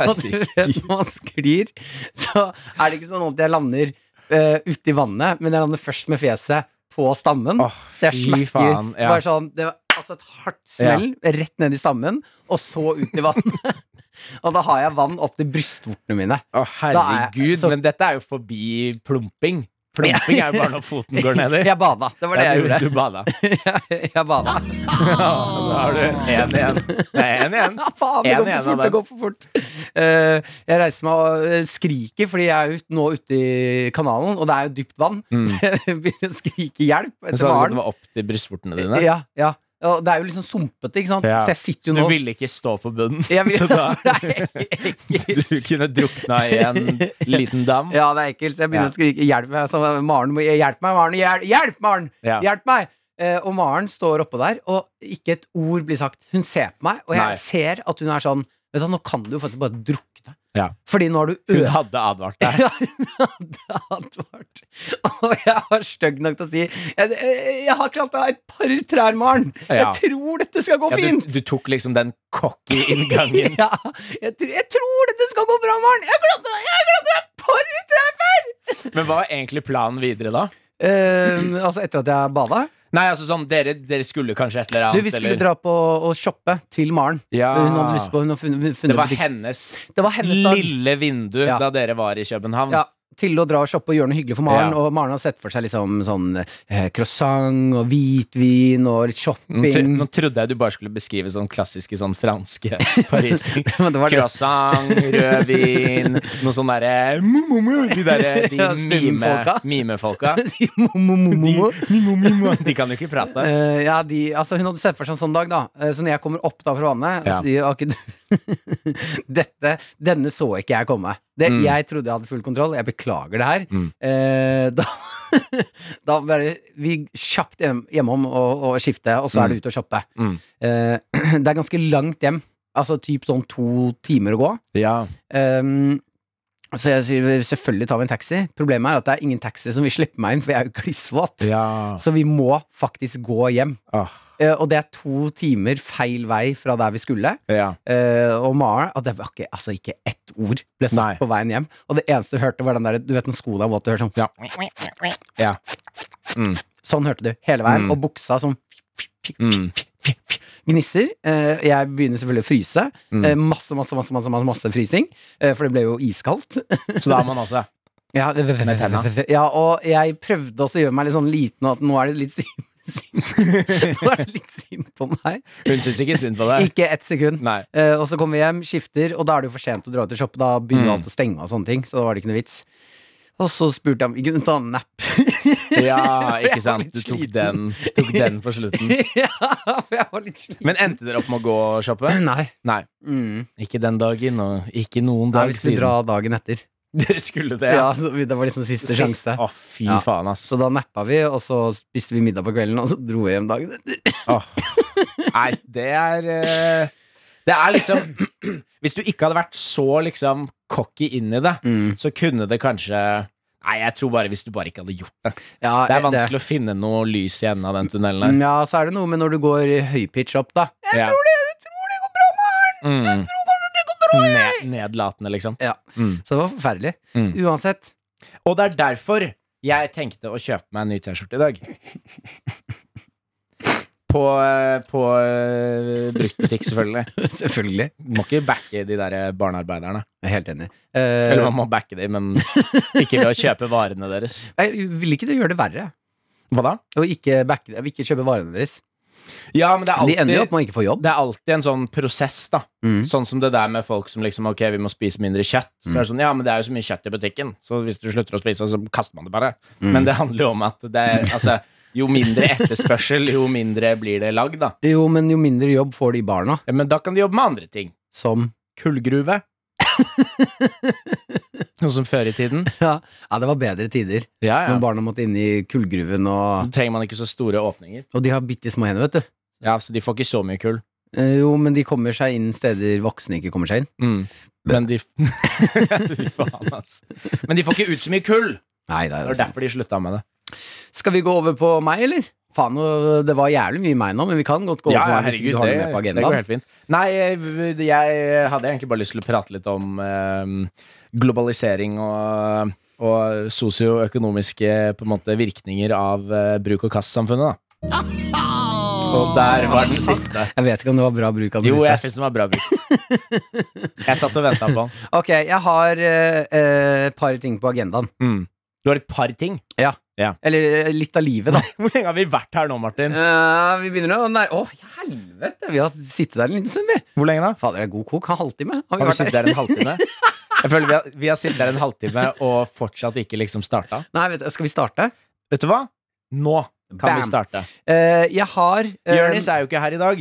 D: og du vet når man sklir, så er det ikke sånn at jeg lander uh, uti vannet, men jeg lander først med fjeset på stammen.
C: Åh,
D: Mm. så jeg
C: fy
D: smekker
C: faen, ja.
D: bare sånn Det var altså et hardt smell rett ned i stammen, og så ut i vannet. og da har jeg vann opp til brystvortene mine.
C: Å, herregud,
D: Da er- så-
C: men dette er jo forbi plumping. Plumping er jo bare når foten går nedi.
D: Jeg bada. Det var det
C: Ja,
D: jeg
C: du,
D: gjorde.
C: du bada.
D: jeg, jeg bada.
C: Da har du én igjen. Det er én igjen.
D: Ja, faen, det
C: En
D: går
C: igjen av
D: for fort.
C: den.
D: Det går for fort. Eh, jeg reiser meg og eh, skriker, fordi jeg er ut, nå ute i kanalen, og det er jo dypt vann.
C: Mm.
D: Så jeg begynner å skrike hjelp
C: Men så
D: etter
C: hadde det
D: Maren.
C: gått opp til brystvortene dine.
D: Ja, ja. Og det er jo liksom sumpete, ikke sant?
C: Ja.
D: Så jeg sitter
C: Så
D: jo
C: du
D: nå
C: ville ikke stå på bunnen.
D: Jeg vil-
C: Så da
D: Det er ekkelt.
C: du kunne drukna i en liten dam.
D: Ja, det er ekkelt, så jeg begynner
C: Ja.
D: å skrike 'hjelp meg', så Maren må Hjelp meg, Maren! Hjelp, hjelp Maren!
C: Ja.
D: Hjelp meg! Eh, og Maren står oppå der, og ikke et ord blir sagt. Hun ser på meg, og jeg
C: Nei.
D: ser at hun er sånn Vet du, hva, Nå kan du jo faktisk bare drukne.
C: Ja.
D: Fordi nå har du
C: Hun
D: ødelagt
C: hadde advart deg.
D: ja, hun hadde advart. Og jeg var stygg nok til å si Jeg, jeg har klart å ha et par trær, Maren. Jeg
C: Ja.
D: tror dette skal gå
C: Ja, du,
D: fint.
C: du tok liksom den cocky inngangen.
D: Ja, jeg, tr- jeg tror dette skal gå bra, Maren. Jeg klatra jeg klatra et par trær før!
C: Men hva var egentlig planen videre da?
D: Eh, altså etter at jeg bada?
C: Nei, altså sånn, dere, dere skulle kanskje et eller
D: Du,
C: annet?
D: vi skulle
C: eller?
D: dra på og shoppe til Maren.
C: Ja.
D: Hun hadde lyst på Hun hadde funnet, funnet
C: Det var
D: butikk.
C: hennes
D: det var hennes dag.
C: lille vindu
D: Ja.
C: da dere var i København.
D: Ja, til å dra og shoppe og gjøre noe hyggelig for Maren.
C: Ja.
D: Og Maren har sett for seg liksom sånn eh, croissant og hvitvin og litt
C: Nå, tr
D: shopping.
C: nå trodde jeg du bare skulle beskrive sånn klassiske sånn franske Paris-ting.
D: Men det var det.
C: Croissant, rødvin, noe sånn derre mu, mu, mu, De derre de
D: Ja,
C: mime,
D: stumfolka.
C: mimefolka.
D: De mo- mo-
C: De,
D: mo- mo-
C: mu,
D: mo.
C: mu, mu, de kan jo ikke prate.
D: Eh, ja, de, altså hun hadde sett for seg en sånn dag, da. Eh, Så når jeg kommer opp da fra vannet,
C: Ja.
D: sier jeg, «Akke, du- Dette, Denne så ikke jeg komme. Det,
C: Mm.
D: Jeg trodde jeg hadde full kontroll. Jeg beklager det her.
C: Mm.
D: Eh, da, da bare Vi kjapt hjem- hjemom og, og skifte, og så
C: Mm.
D: er det ut og shoppe.
C: Mm.
D: Eh, det er ganske langt hjem. Altså typ sånn to timer å gå.
C: Ja.
D: Ehm, så jeg sier selvfølgelig tar vi en taxi. Problemet er at det er ingen taxi som vil slippe meg inn, for jeg er jo klissvåt.
C: ja.
D: Så vi må faktisk gå hjem.
C: Åh,
D: Eh, og det er to timer feil vei fra der vi skulle.
C: ja.
D: Eh, og Maren at det var ikke, altså ikke ett ord ble sagt
C: Nei.
D: på veien hjem. Og det eneste du hørte, var den der Du vet når skoene er våte, du hører sånn
C: Ja. Ja. Mm.
D: Sånn hørte du hele veien.
C: Mm.
D: Og buksa som
C: Mm.
D: gnisser. Eh, jeg begynner selvfølgelig å fryse.
C: Mm.
D: Eh, masse, masse, masse, masse, masse, masse frysing. Eh, for det ble jo iskaldt.
C: Så da har man også
D: Ja, med
C: tenna.
D: Ja, og jeg prøvde også å gjøre meg litt sånn liten, og at nå er det litt synd. Nå er det litt synd på meg.
C: Hun syns ikke synd på deg.
D: Ikke ett sekund.
C: Nei.
D: Eh, og så kommer vi hjem, skifter, og da er det jo for sent å dra ut og shoppe. Da begynner
C: Mm.
D: alt å stenge og sånne ting, så da var det ikke noe vits. Og så spurte jeg om vi kunne ta en nap.
C: Ja,
D: Jeg var
C: ikke sant.
D: litt
C: Du tok
D: sliten.
C: den, tok den på slutten.
D: ja, for jeg var litt sliten.
C: Men endte dere opp med å gå og shoppe?
D: Nei.
C: Nei.
D: Mm.
C: Ikke den dagen, og ikke noen
D: Nei,
C: dag
D: vi skulle dra
C: siden.
D: dagen etter.
C: Dere skulle det,
D: Ja,
C: ja.
D: så vi- Det var liksom siste
C: Sist-
D: sjanse.
C: Å, fy
D: Ja.
C: faen, ass.
D: Så da nappa vi, og så spiste vi middag på kvelden, og så dro vi hjem dagen etter.
C: Åh. Nei, det er eh, Det er liksom Hvis du ikke hadde vært så liksom cocky inn i det, så kunne det kanskje Nei, jeg tror bare hvis du bare ikke hadde gjort det.
D: Ja,
C: Det er vanskelig å finne noe lys i enden av den tunnelen.
D: Mm, Ja, så er det noe med når du går i høypitch opp, da. Mm.
C: Jeg tror det, går bra, Maren! Jeg tror kanskje det går bra, jeg! Mm. Nedlatende, liksom.
D: Ja.
C: Mm.
D: Så det var forferdelig.
C: Mm.
D: Uansett.
C: Og det er derfor jeg tenkte å kjøpe meg en ny T-skjorte i dag. På, eh, på eh, bruktbutikk, selvfølgelig.
D: Selvfølgelig.
C: Må ikke backe de der barnearbeiderne.
D: Jeg er helt enig.
C: Eller
D: Eh,
C: man må backe dem, men ikke ved å kjøpe varene deres.
D: jeg vil ikke du gjøre det verre?
C: Hva da?
D: Å ikke, backe, å ikke kjøpe varene deres.
C: Ja, men det er
D: De ender jo opp
C: alltid
D: med å ikke få jobb.
C: det er alltid en sånn prosess, da.
D: Mm.
C: Sånn som det der med folk som liksom Ok, vi må spise mindre kjøtt. Så er det sånn, ja, men det er jo så mye kjøtt i butikken, så hvis du slutter å spise, så kaster man det bare. Men det handler jo om at det er Altså, jo mindre etterspørsel, jo mindre blir det lagd, da.
D: Jo, men jo mindre jobb får de barna,
C: Ja, men da kan de jobbe med andre ting.
D: som
C: Kullgruve. Noe som før i tiden.
D: Ja, ja det var bedre tider.
C: Ja,
D: Når barna måtte inn i kullgruven,
C: Da
D: og,
C: trenger man ikke så store åpninger.
D: og de har bitte små hender, vet du.
C: Ja, Så de får ikke så mye kull.
D: Eh, jo, men de kommer seg inn steder voksne ikke kommer seg inn.
C: Mm. Men de Fy faen, ass. Men de får ikke ut så mye kull!
D: Nei, det
C: Det
D: er
C: var
D: det sant.
C: derfor de slutta med det.
D: Skal vi gå over på meg, eller? Faen, nå- det var jævlig mye meg nå, men vi kan godt gå over
C: Ja,
D: på meg hvis
C: herregud,
D: ikke du har
C: det,
D: noe mer på
C: det går
D: agendaen.
C: helt fint. Nei, jeg, jeg hadde egentlig bare lyst til å prate litt om eh, globalisering og, og sosioøkonomiske på en måte, virkninger av eh, bruk og kast-samfunnet. da. Og der var den siste.
D: Jeg vet ikke om det var bra bruk av det
C: Jo,
D: siste.
C: jeg syns den var bra brukt. Jeg satt og venta på den.
D: Ok, jeg har eh, eh, et par ting på agendaen.
C: Mm. Du har et par ting.
D: Eller eh, litt av livet, da.
C: Hvor lenge har vi vært her nå, Martin?
D: Eh, vi begynner å nær... Å, helvete! Vi har sittet der en liten stund, vi.
C: Hvor lenge da?
D: Fader, det er god kok. Ha halvtime.
C: Har vi
D: vært
C: sittet der en halvtime? Jeg føler vi har, vi har sittet der en halvtime og fortsatt ikke liksom starta.
D: Nei, vet du, skal vi starte?
C: Vet du hva? Nå kan vi
D: Bam.
C: starte.
D: Eh, jeg har eh,
C: Um, Jonis er jo ikke her i dag,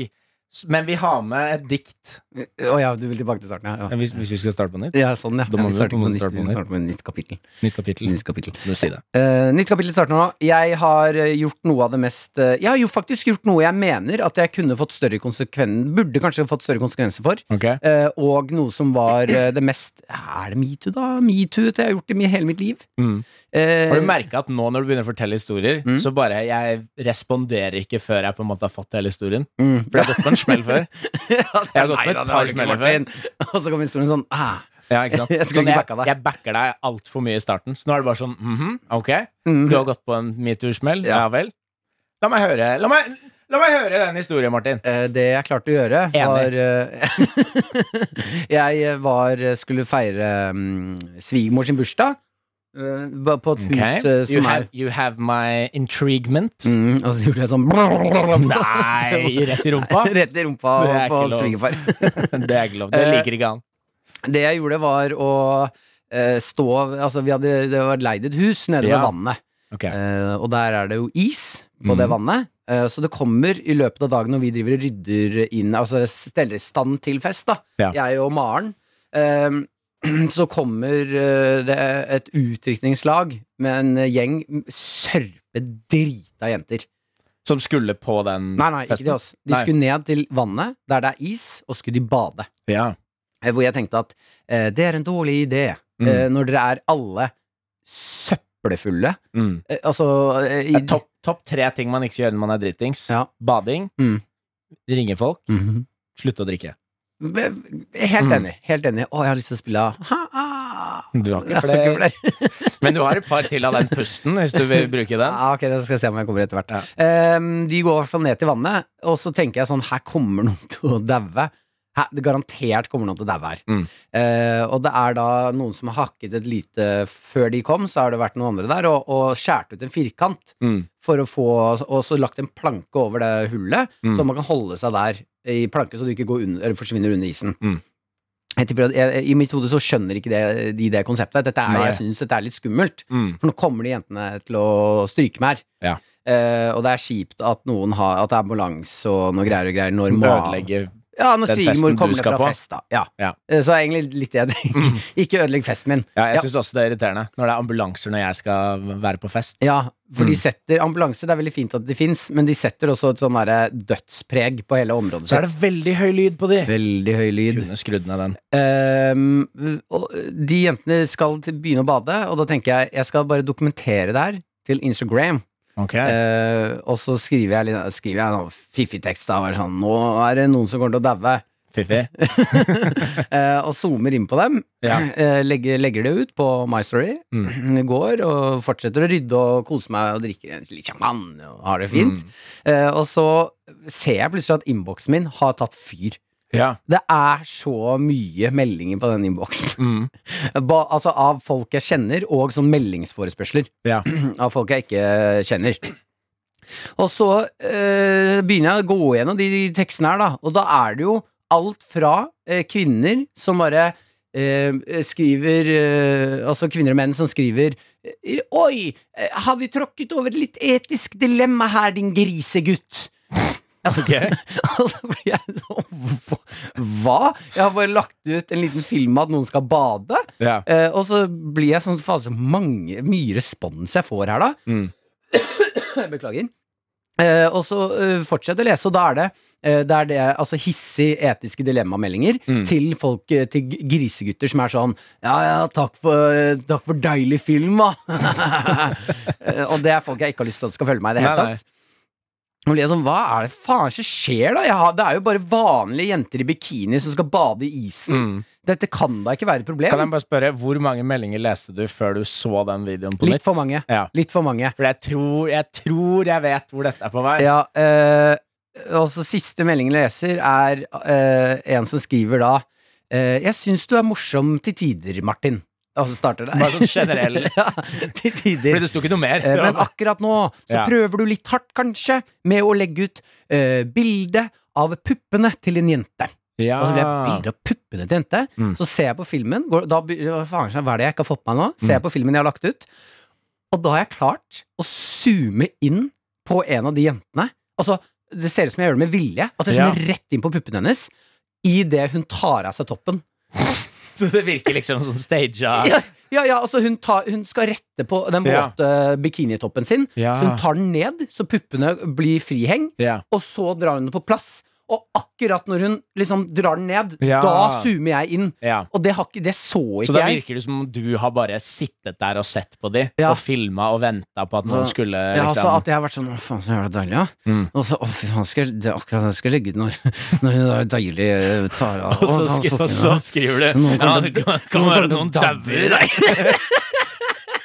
C: s- men vi har med et dikt
D: Eh, Å ja, du vil tilbake til starten, ja. ja.
C: Hvis, hvis vi skal starte på nytt?
D: Ja, sånn, ja.
C: Da
D: ja
C: må
D: vi
C: vi
D: starter
C: på en
D: på
C: måte
D: nytt,
C: starte på
D: vi
C: nytt.
D: starter på nytt kapittel.
C: Nytt kapittel.
D: Nytt kapittel.
C: Du må si det.
D: Eh, nytt kapittel starter nå. Jeg har eh, gjort noe av det mest eh, Jeg har jo faktisk gjort noe jeg mener at jeg kunne fått større konsekven- Burde kanskje fått større konsekvenser for.
C: Ok.
D: Eh, og noe som var eh, det mest Er det metoo, da? Metoo det jeg har gjort i mi- hele mitt liv.
C: Mm.
D: Eh,
C: Har du merka at nå når du begynner å fortelle historier,
D: Mm.
C: så bare jeg responderer ikke før jeg på en måte har fått hele historien?
D: Mm.
C: For jeg har gått på en smell før.
D: Ja, det-
C: Jeg har gått
D: nei
C: med
D: da,
C: et
D: det
C: par
D: har du ikke,
C: smeller
D: Martin. Og så kom historien sånn ah.
C: Ja, ikke sant?
D: Jeg
C: Sånn,
D: skulle ikke
C: jeg,
D: backa deg.
C: jeg backer deg altfor mye i starten. Så nå er det bare sånn mhm, ok.
D: Mm.
C: Du har gått på en metoo-smell? Ja.
D: Ja.
C: vel? La meg høre La meg, la meg høre den historien, Martin.
D: Eh, Det jeg klarte å gjøre, var eh, Jeg var, eh, skulle feire mm, svigermor sin bursdag eh, ba- på et hus eh,
C: You,
D: som
C: have,
D: er
C: you have my intriguement.
D: mm, Og så gjorde jeg sånn
C: Nei, rett Eh, i rumpa?
D: Rett i rumpa
C: Det er
D: på
C: ikke lov.
D: svigerfar.
C: Det er ikke lov. Det liker ikke han.
D: Det jeg gjorde, var å eh, stå Altså, vi hadde, det var leid et hus nede ved
C: Ja.
D: vannet.
C: Ok.
D: Eh, og der er det jo is på
C: Mhm.
D: det vannet. Eh, så det kommer i løpet av dagen når vi driver og rydder inn Altså steller i stand til fest, da.
C: Ja.
D: Jeg og Maren. eh, så kommer eh, det et utdrikningslag med en gjeng sørpedrita jenter.
C: Som skulle på den
D: Nei, nei,
C: Mm. festen?
D: ikke til oss. De
C: Nei. altså.
D: skulle ned til vannet der det er is, og skulle de bade.
C: Ja.
D: Eh, Hvor jeg tenkte at eh, det er en dårlig idé
C: Mm.
D: eh, når dere er alle søppelfulle.
C: Mm.
D: Eh, altså eh, i,
C: Det er topp, topp tre ting man ikke skal gjøre når man er dritings.
D: Ja.
C: Bading,
D: Mm.
C: ringe folk,
D: Mhm.
C: slutte å drikke.
D: Be- Helt enig. Helt enig. Å, jeg har lyst til å spille Mm. ha, ah.
C: Du har ikke
D: Jeg har
C: flere.
D: ikke flere.
C: Men du har et par til av den pusten, hvis du vil bruke den.
D: Ah, ok, det skal jeg se om jeg kommer etter hvert. Ehm, de går i hvert fall ned til vannet, og så tenker jeg sånn Her kommer noen til å daue. Her- Det garantert kommer noen til å daue her.
C: Mm.
D: Eh, og det er da noen som har hakket et lite Før de kom, så har det vært noen andre der, og, og skjært ut en firkant
C: Mm.
D: for å få Og så lagt en planke over det hullet,
C: Mm.
D: så man kan holde seg der i planke, så du ikke går under, eller forsvinner under isen.
C: Mm.
D: Jeg tipper at jeg, I mitt hode så skjønner ikke det, de det konseptet. Dette er,
C: Nei.
D: jeg synes dette er litt skummelt.
C: Mm.
D: For nå kommer de jentene til å stryke meg her.
C: Ja.
D: Eh, og det er kjipt at noen har At det er ambulanse og noe greier og greier. Når ma-
C: Ødelegge
D: Ja, når
C: den
D: svigermor
C: festen du
D: kommer ned
C: skal
D: fra
C: på.
D: fest, da. Ja.
C: Ja. Mm.
D: Eh, Så er egentlig litt det jeg tenker. Ikke ødelegg festen min.
C: Ja, jeg
D: Ja.
C: syns også det er irriterende når det er ambulanser når jeg skal være på fest.
D: Ja, for
C: Mm.
D: de setter ambulanse, det er veldig fint at de fins, men de setter også et sånn derre dødspreg på hele området
C: Så er det
D: sitt.
C: veldig høy lyd på de.
D: Veldig høy lyd.
C: Kunne skrudd ned den.
D: Ehm, og de jentene skal til, begynne å bade, og da tenker jeg jeg skal bare dokumentere det her til Instagram.
C: Ok.
D: Eh, og så skriver jeg, litt- skriver jeg noe fiffig tekst da, og er sånn, nå er det noen som kommer til å daue.
C: Fiffi.
D: Eh, og zoomer inn på dem.
C: Ja.
D: Eh, legger, legger det ut på My Story.
C: Mm.
D: Går og fortsetter å rydde og kose meg og drikker en litt champagne og har det fint.
C: Mm.
D: Eh, og så ser jeg plutselig at innboksen min har tatt fyr.
C: Ja.
D: Det er så mye meldinger på den innboksen.
C: Mm.
D: Ba, altså av folk jeg kjenner, og sånn meldingsforespørsler
C: Ja.
D: av folk jeg ikke kjenner. Og så eh, begynner jeg å gå gjennom de, de tekstene her, da. Og da er det jo alt fra eh, kvinner som bare eh, skriver eh, Altså kvinner og menn som skriver eh, Oi, eh, har vi tråkket over et litt etisk dilemma her, din grisegutt? Og så blir jeg sånn Hva? Jeg har bare lagt ut en liten film av at noen skal bade.
C: ja.
D: Eh, og så blir jeg sånn faen så mange, mye respons jeg får her, da.
C: Mm.
D: Beklager. Eh, og så eh, fortsetter jeg å lese, og da er det eh, det er det, altså hissige etiske dilemmameldinger
C: Mm.
D: til folk, eh, til g- grisegutter som er sånn Ja, ja, takk for, eh, takk for deilig film, da. Eh, og det er folk jeg ikke har lyst til at skal følge meg i det hele
C: Nei, nei.
D: tatt. Og blir jeg sånn, Hva er det faen som skjer, da? Jeg har, det er jo bare vanlige jenter i bikini som skal bade i isen.
C: Mm.
D: Dette kan da ikke være et problem?
C: Kan jeg bare spørre, hvor mange meldinger leste du før du så den videoen på nytt?
D: Litt for mange.
C: Ja.
D: Litt for mange.
C: For jeg tror, jeg tror jeg vet hvor dette er på vei.
D: Ja, eh, og så siste meldingen jeg leser, er eh, en som skriver da eh, Jeg syns du er morsom til tider, Martin. Og så starter det.
C: Bare sånn generell.
D: ja, til tider.
C: Fordi det sto ikke noe mer.
D: Eh, Men akkurat nå så
C: Ja.
D: prøver du litt hardt, kanskje, med å legge ut eh, bilde av puppene til en jente.
C: ja.
D: Og så blir jeg bilde av puppene til jente.
C: Ah. Mm.
D: Så ser jeg på filmen. Går, da, be- hva faen, hva er det jeg ikke har fått med meg nå? Ser
C: Mm.
D: jeg på filmen jeg har lagt ut. Og da har jeg klart å zoome inn på en av de jentene. Altså, det ser ut som jeg gjør det med vilje. At jeg
C: Ja.
D: zoomer rett inn på puppene hennes. idet hun tar av seg toppen.
C: Så det virker liksom sånn staged.
D: Ja, ja, ja altså hun, tar, hun skal rette på den
C: Ja. Ah.
D: våte bikinitoppen sin.
C: Ja.
D: Så hun tar den ned, så puppene blir friheng.
C: Ja.
D: Og så drar hun den på plass. Og akkurat når hun liksom drar den ned,
C: Ja.
D: da zoomer jeg inn.
C: Ja.
D: Og det, har ikke, det så
C: Så
D: ikke
C: da
D: jeg.
C: virker det som om du har bare sittet der og sett på de
D: Ja.
C: og filma og venta på at
D: Ja.
C: noen skulle
D: Ja, altså
C: liksom
D: At jeg har vært sånn Å, faen, så jævla deilig, ja.
C: Mm.
D: Og så, å, fy faen, skal jeg, det er akkurat det jeg skal legge ut når, når hun er deilig eh, tar av
C: Og så,
D: Å, faen,
C: skri,
D: fucking,
C: og så
D: ja.
C: skriver du
D: Noen
C: Ja,
D: kommer
C: det
D: til-
C: kan, kan
D: noen
C: være
D: kommer
C: noen
D: til å
C: dauer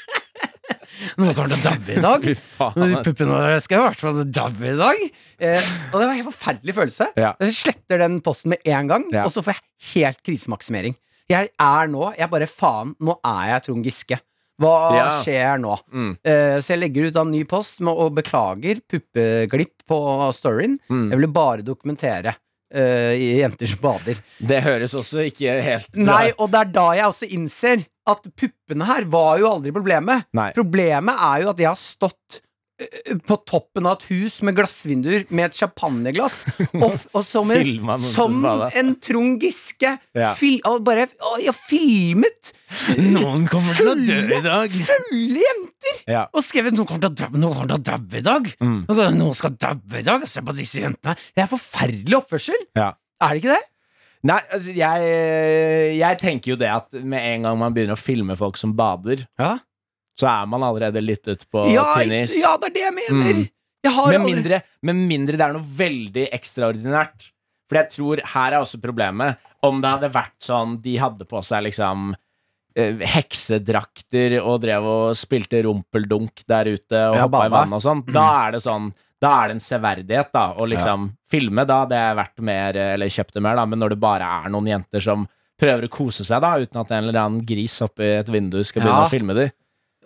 D: Nå kommer det dabbe i dag.
C: Fy faen.
D: Men Puppene deres skal i hvert fall dabbe i dag. Eh, og det var en helt forferdelig følelse.
C: Ja.
D: Jeg sletter den posten med en gang,
C: Ja.
D: og så får jeg helt krisemaksimering. Jeg er nå Jeg bare faen, nå er jeg Trond Giske. Hva
C: Ja.
D: skjer nå?
C: Mm.
D: Eh, så jeg legger ut da en ny post med, og beklager puppeglipp på storyen.
C: Mm.
D: Jeg ville bare dokumentere eh, jenter som bader.
C: Det høres også ikke helt bra
D: Nei,
C: ut.
D: og det er da jeg også innser at puppene her var jo aldri problemet.
C: Nei.
D: Problemet er jo at jeg har stått ø, ø, på toppen av et hus med glassvinduer med et champagneglass, og, f- og som
C: Filma
D: en,
C: noen
D: som
C: som badet.
D: en Trond Giske
C: Ja.
D: fil, og bare og jeg filmet
C: Noen kommer til å dø i dag.
D: fulle jenter
C: Ja.
D: og skrevet 'Noen kommer til å daue, noen kommer til å daue i dag'.
C: Mm.
D: Noen skal daue i dag. Se på disse jentene. Det er forferdelig oppførsel.
C: Ja.
D: Er det ikke det?
C: Nei, altså, jeg, jeg tenker jo det at med en gang man begynner å filme folk som bader,
D: Ja,
C: så er man allerede litt ute på
D: ja,
C: tynn is.
D: ikke- ja det er det jeg mener.
C: Mm.
D: Jeg har
C: Med
D: aldri-
C: mindre, med mindre det er noe veldig ekstraordinært. For jeg tror her er også problemet. Om det hadde vært sånn de hadde på seg liksom eh, heksedrakter og drev og spilte rumpeldunk der ute og
D: Ja,
C: hoppa
D: bada. Mm.
C: i vannet og sånn, da er det sånn da er det en severdighet, da. Å liksom filme, da hadde jeg vært mer, eh, eller kjøpt det mer, da. Men når det bare er noen jenter som prøver å kose seg, da, uten at en eller annen gris oppi et vindu skal begynne å
D: Ja.
C: filme de.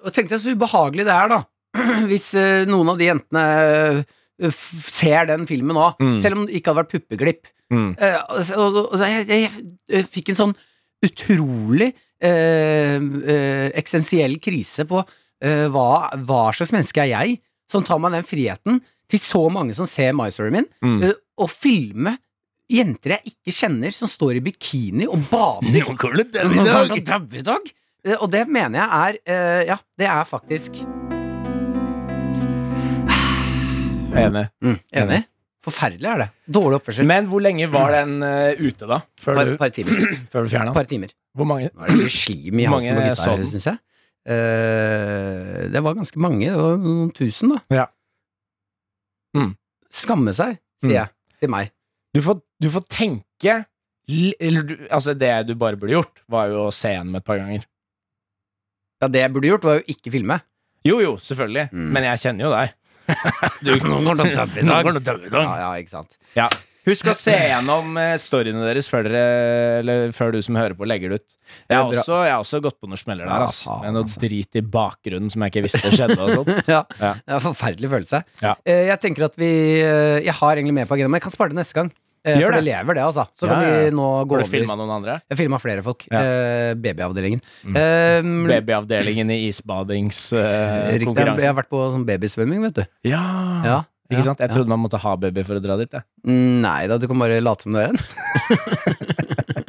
D: Og tenkte jeg så ubehagelig det er da Hvis eh, noen av de jentene eh, f- ser den filmen nå
C: Mm.
D: Selv om det ikke hadde vært puppeglipp
C: Mm.
D: Eh, og, så- og, og, så jeg, jeg, jeg fikk en sånn utrolig eh, eh, eksistensiell krise på eh, hva, hva slags menneske er jeg Som tar meg den friheten til så mange som ser My Story min
C: Mm.
D: eh, Å filme jenter jeg ikke kjenner som står i bikini og bader
C: kommer det
D: Noen kommer til å daue i dag. Eh, Og det mener jeg er eh, Ja, det er faktisk
C: Mm, Enig.
D: Enig. Forferdelig er det. Dårlig oppførsel.
C: Men hvor lenge var den eh, ute, da? Før
D: Par,
C: du,
D: par timer.
C: før du fjerna den?
D: Par timer.
C: Hvor mange?
D: Nå er det mye slim i
C: Hvor
D: halsen på
C: mange sånn.
D: gutta,
C: så
D: her,
C: den?
D: syns jeg. Eh, det var ganske mange. Det var noen tusen, da.
C: Ja. Mm.
D: Skamme seg, sier
C: Mm.
D: jeg til meg.
C: Du får, du får tenke l- eller, du- Altså, det du bare burde gjort, var jo å se den et par ganger.
D: Ja, det jeg burde gjort, var jo ikke filme.
C: Jo, jo, selvfølgelig.
D: Mm.
C: Men jeg kjenner jo deg.
D: Noen går til å daue i dag.
C: Noen går til å daue i dag.
D: Ja, ja, ikke sant.
C: Ja. Husk å se gjennom eh, storyene deres før, dere, eller før du som hører på, legger det ut. Jeg har
D: Det er bra.
C: også, jeg har også gått på noen smeller der.
D: Ja,
C: ass.
D: faen,
C: Med noe
D: altså.
C: drit i bakgrunnen som jeg ikke visste skjedde. og sånn.
D: ja.
C: Ja.
D: Det er en forferdelig følelse.
C: Ja.
D: Eh, Jeg tenker at vi eh, Jeg har egentlig mer på agendaen, men jeg kan spare det neste gang. Eh,
C: Gjør
D: for det
C: det.
D: lever, det, altså. Så
C: Ja,
D: kan
C: ja, ja.
D: vi nå gå
C: Har
D: over
C: du filma noen andre?
D: Jeg filma flere folk.
C: Ja.
D: Eh, babyavdelingen.
C: Mm.
D: Eh,
C: Babyavdelingen i
D: riktig, jeg
C: isbadingskonkurransen.
D: har vært på sånn babysvømming, vet du.
C: ja.
D: Ja.
C: Ikke sant? Jeg
D: ja.
C: trodde man måtte ha baby for å dra dit. Jeg.
D: Mm, Nei da, du kan bare late som du er en.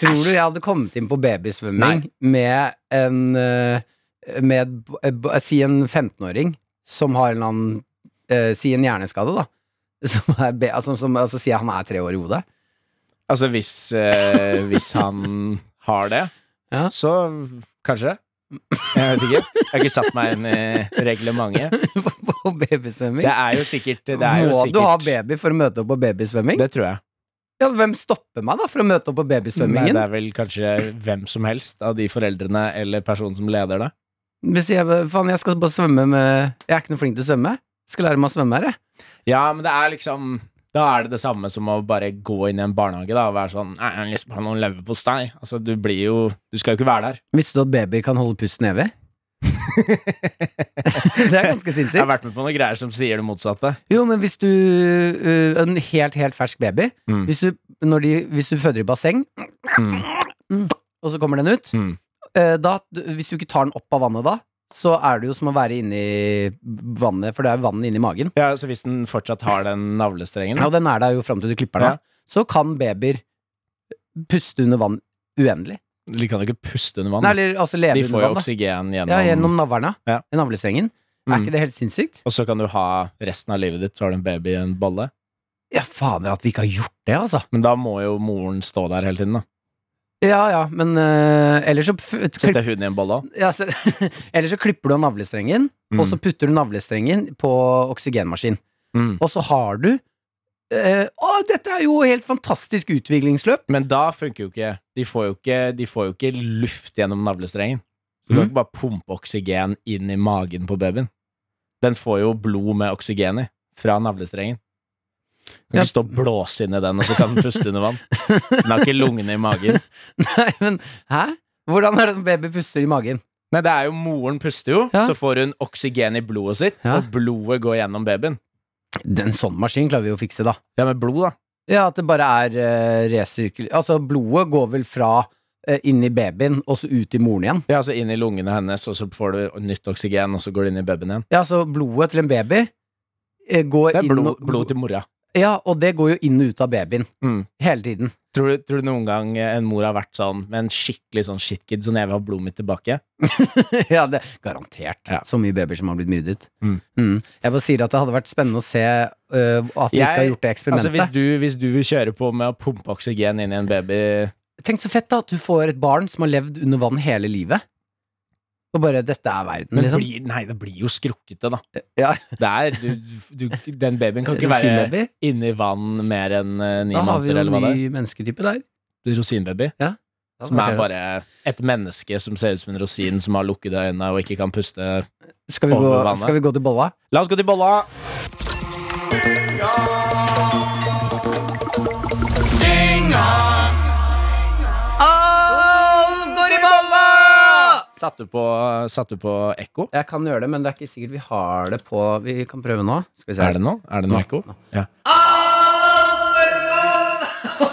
D: Tror du jeg hadde kommet inn på babysvømming med en eh, Med et b- et b- Si en 15-åring som har en eller annen eh, Si en hjerneskade, da. Som er, be- altså, som, altså si han er tre år i hodet.
C: Altså hvis, eh, hvis han har det,
D: Ja.
C: så kanskje. Jeg vet ikke. Jeg har ikke satt meg inn i reglementet.
D: på babysvømming?
C: Det er jo sikkert det er jo
D: Må
C: sikkert,
D: du ha baby for å møte opp på babysvømming?
C: Det tror jeg.
D: Ja, hvem stopper meg da for å møte opp på
C: Nei,
D: babysvømmingen?
C: det er vel kanskje hvem som helst av de foreldrene eller personen som leder det.
D: Hvis jeg, faen, jeg skal bare svømme med Jeg er ikke noe flink til å svømme. Skal lære meg å svømme her, jeg.
C: Ja, men det er liksom Da er det det samme som å bare gå inn i en barnehage da, og være sånn Nei, jeg har lyst på noen leverpostei. Altså, du blir jo Du skal jo ikke være der.
D: Visste du at babyer kan holde pusten evig? det er ganske
C: Jeg har
D: sinnssykt.
C: vært med på noen greier som sier det motsatte.
D: Jo, men hvis du ø, En helt, helt fersk baby
C: Mm.
D: hvis, du, når de, hvis du føder i basseng,
C: Mm.
D: og så kommer den ut
C: Mm.
D: ø, da, Hvis du ikke tar den opp av vannet da, så er det jo som å være inni vannet, for det er vann inni magen.
C: Ja, så hvis den fortsatt har den navlestrengen Mm.
D: Ja, og den er der jo fram til du klipper den. av. så kan babyer puste under vann uendelig.
C: De kan jo ikke puste under vann.
D: Nei, eller altså leve
C: de får
D: under
C: jo
D: vann. da.
C: oksygen gjennom,
D: Ja, gjennom navlene.
C: Ja.
D: Navlestrengen.
C: Mm.
D: Er ikke det helt sinnssykt?
C: Og så kan du ha resten av livet ditt, så har du en baby i en bolle.
D: Ja, fader at vi ikke har gjort det, altså.
C: Men da må jo moren stå der hele tiden, da.
D: Ja, ja, men uh, ellers så f- klipp,
C: Sette huden i en bolle òg.
D: ja, se- Ellers så klipper du av navlestrengen, og så putter du navlestrengen på oksygenmaskin.
C: Mm.
D: Og så har du eh, Å, dette er jo helt fantastisk utviklingsløp!
C: Men da funker jo ikke De får jo ikke, de får jo ikke luft gjennom navlestrengen. Så du kan
D: Mhm.
C: ikke bare pumpe oksygen inn i magen på babyen. Den får jo blod med oksygen i fra navlestrengen. Du kan
D: Ja.
C: ikke stå og blåse inn i den, og så kan den puste under vann. Den har ikke lungene i magen.
D: Nei, men hæ? Hvordan er det en baby puster i magen?
C: Nei, det er jo moren puster jo,
D: Ja.
C: så får hun oksygen i blodet sitt,
D: Ja.
C: og blodet går gjennom babyen.
D: Den sånn maskin klarer vi jo å fikse, da.
C: Ja, med blod, da.
D: Ja, at det bare er eh, resirkul... Altså, blodet går vel fra eh, inn i babyen og så ut i moren igjen.
C: Ja, altså inn i lungene hennes, og så får du nytt oksygen, og så går det inn i babyen igjen.
D: Ja, så blodet til en baby eh, går
C: Det er
D: inn
C: blod,
D: og-
C: blod til mora.
D: Ja, og det går jo inn og ut av babyen.
C: Mm.
D: Hele tiden.
C: Tror du, tror du noen gang en mor har vært sånn med en skikkelig sånn shitkid, sånn jeg vil ha blodet mitt tilbake?
D: ja, det Garantert.
C: Ja.
D: Så mye babyer som har blitt myrdet.
C: Mm.
D: Jeg bare sier at det hadde vært spennende å se øh, at
C: Jeg-
D: vi ikke har gjort det
C: Altså
D: eksperimentet.
C: hvis du, hvis du vil kjøre på med å pumpe oksygen inn i en baby
D: Mm, Tenk så fett da, at du får et barn som har levd under vann hele livet. Og bare 'dette er verden',
C: Men
D: liksom.
C: blir, nei, det blir jo skrukkete, da.
D: Ja.
C: Det er, du, du, den babyen kan ikke være
D: Rosinbaby.
C: inni vann mer enn eh, ni
D: Da har
C: måneder,
D: vi jo
C: eller hva det er.
D: ny mennesketype der.
C: Rosinbaby. Som er bare et menneske som ser ut som en rosin, som har lukkede øyne og ikke kan puste.
D: skal vi,
C: over
D: gå,
C: vannet.
D: skal vi gå til bolla?
C: La oss gå til bolla!
D: Alt går i bolla!
C: Satt du på, satt du på ekko?
D: Jeg kan gjøre det, men det er ikke sikkert vi har det på Vi kan prøve nå. Skal vi se.
C: Er det nå? Er det noe
D: Nå.
C: ekko? Ja.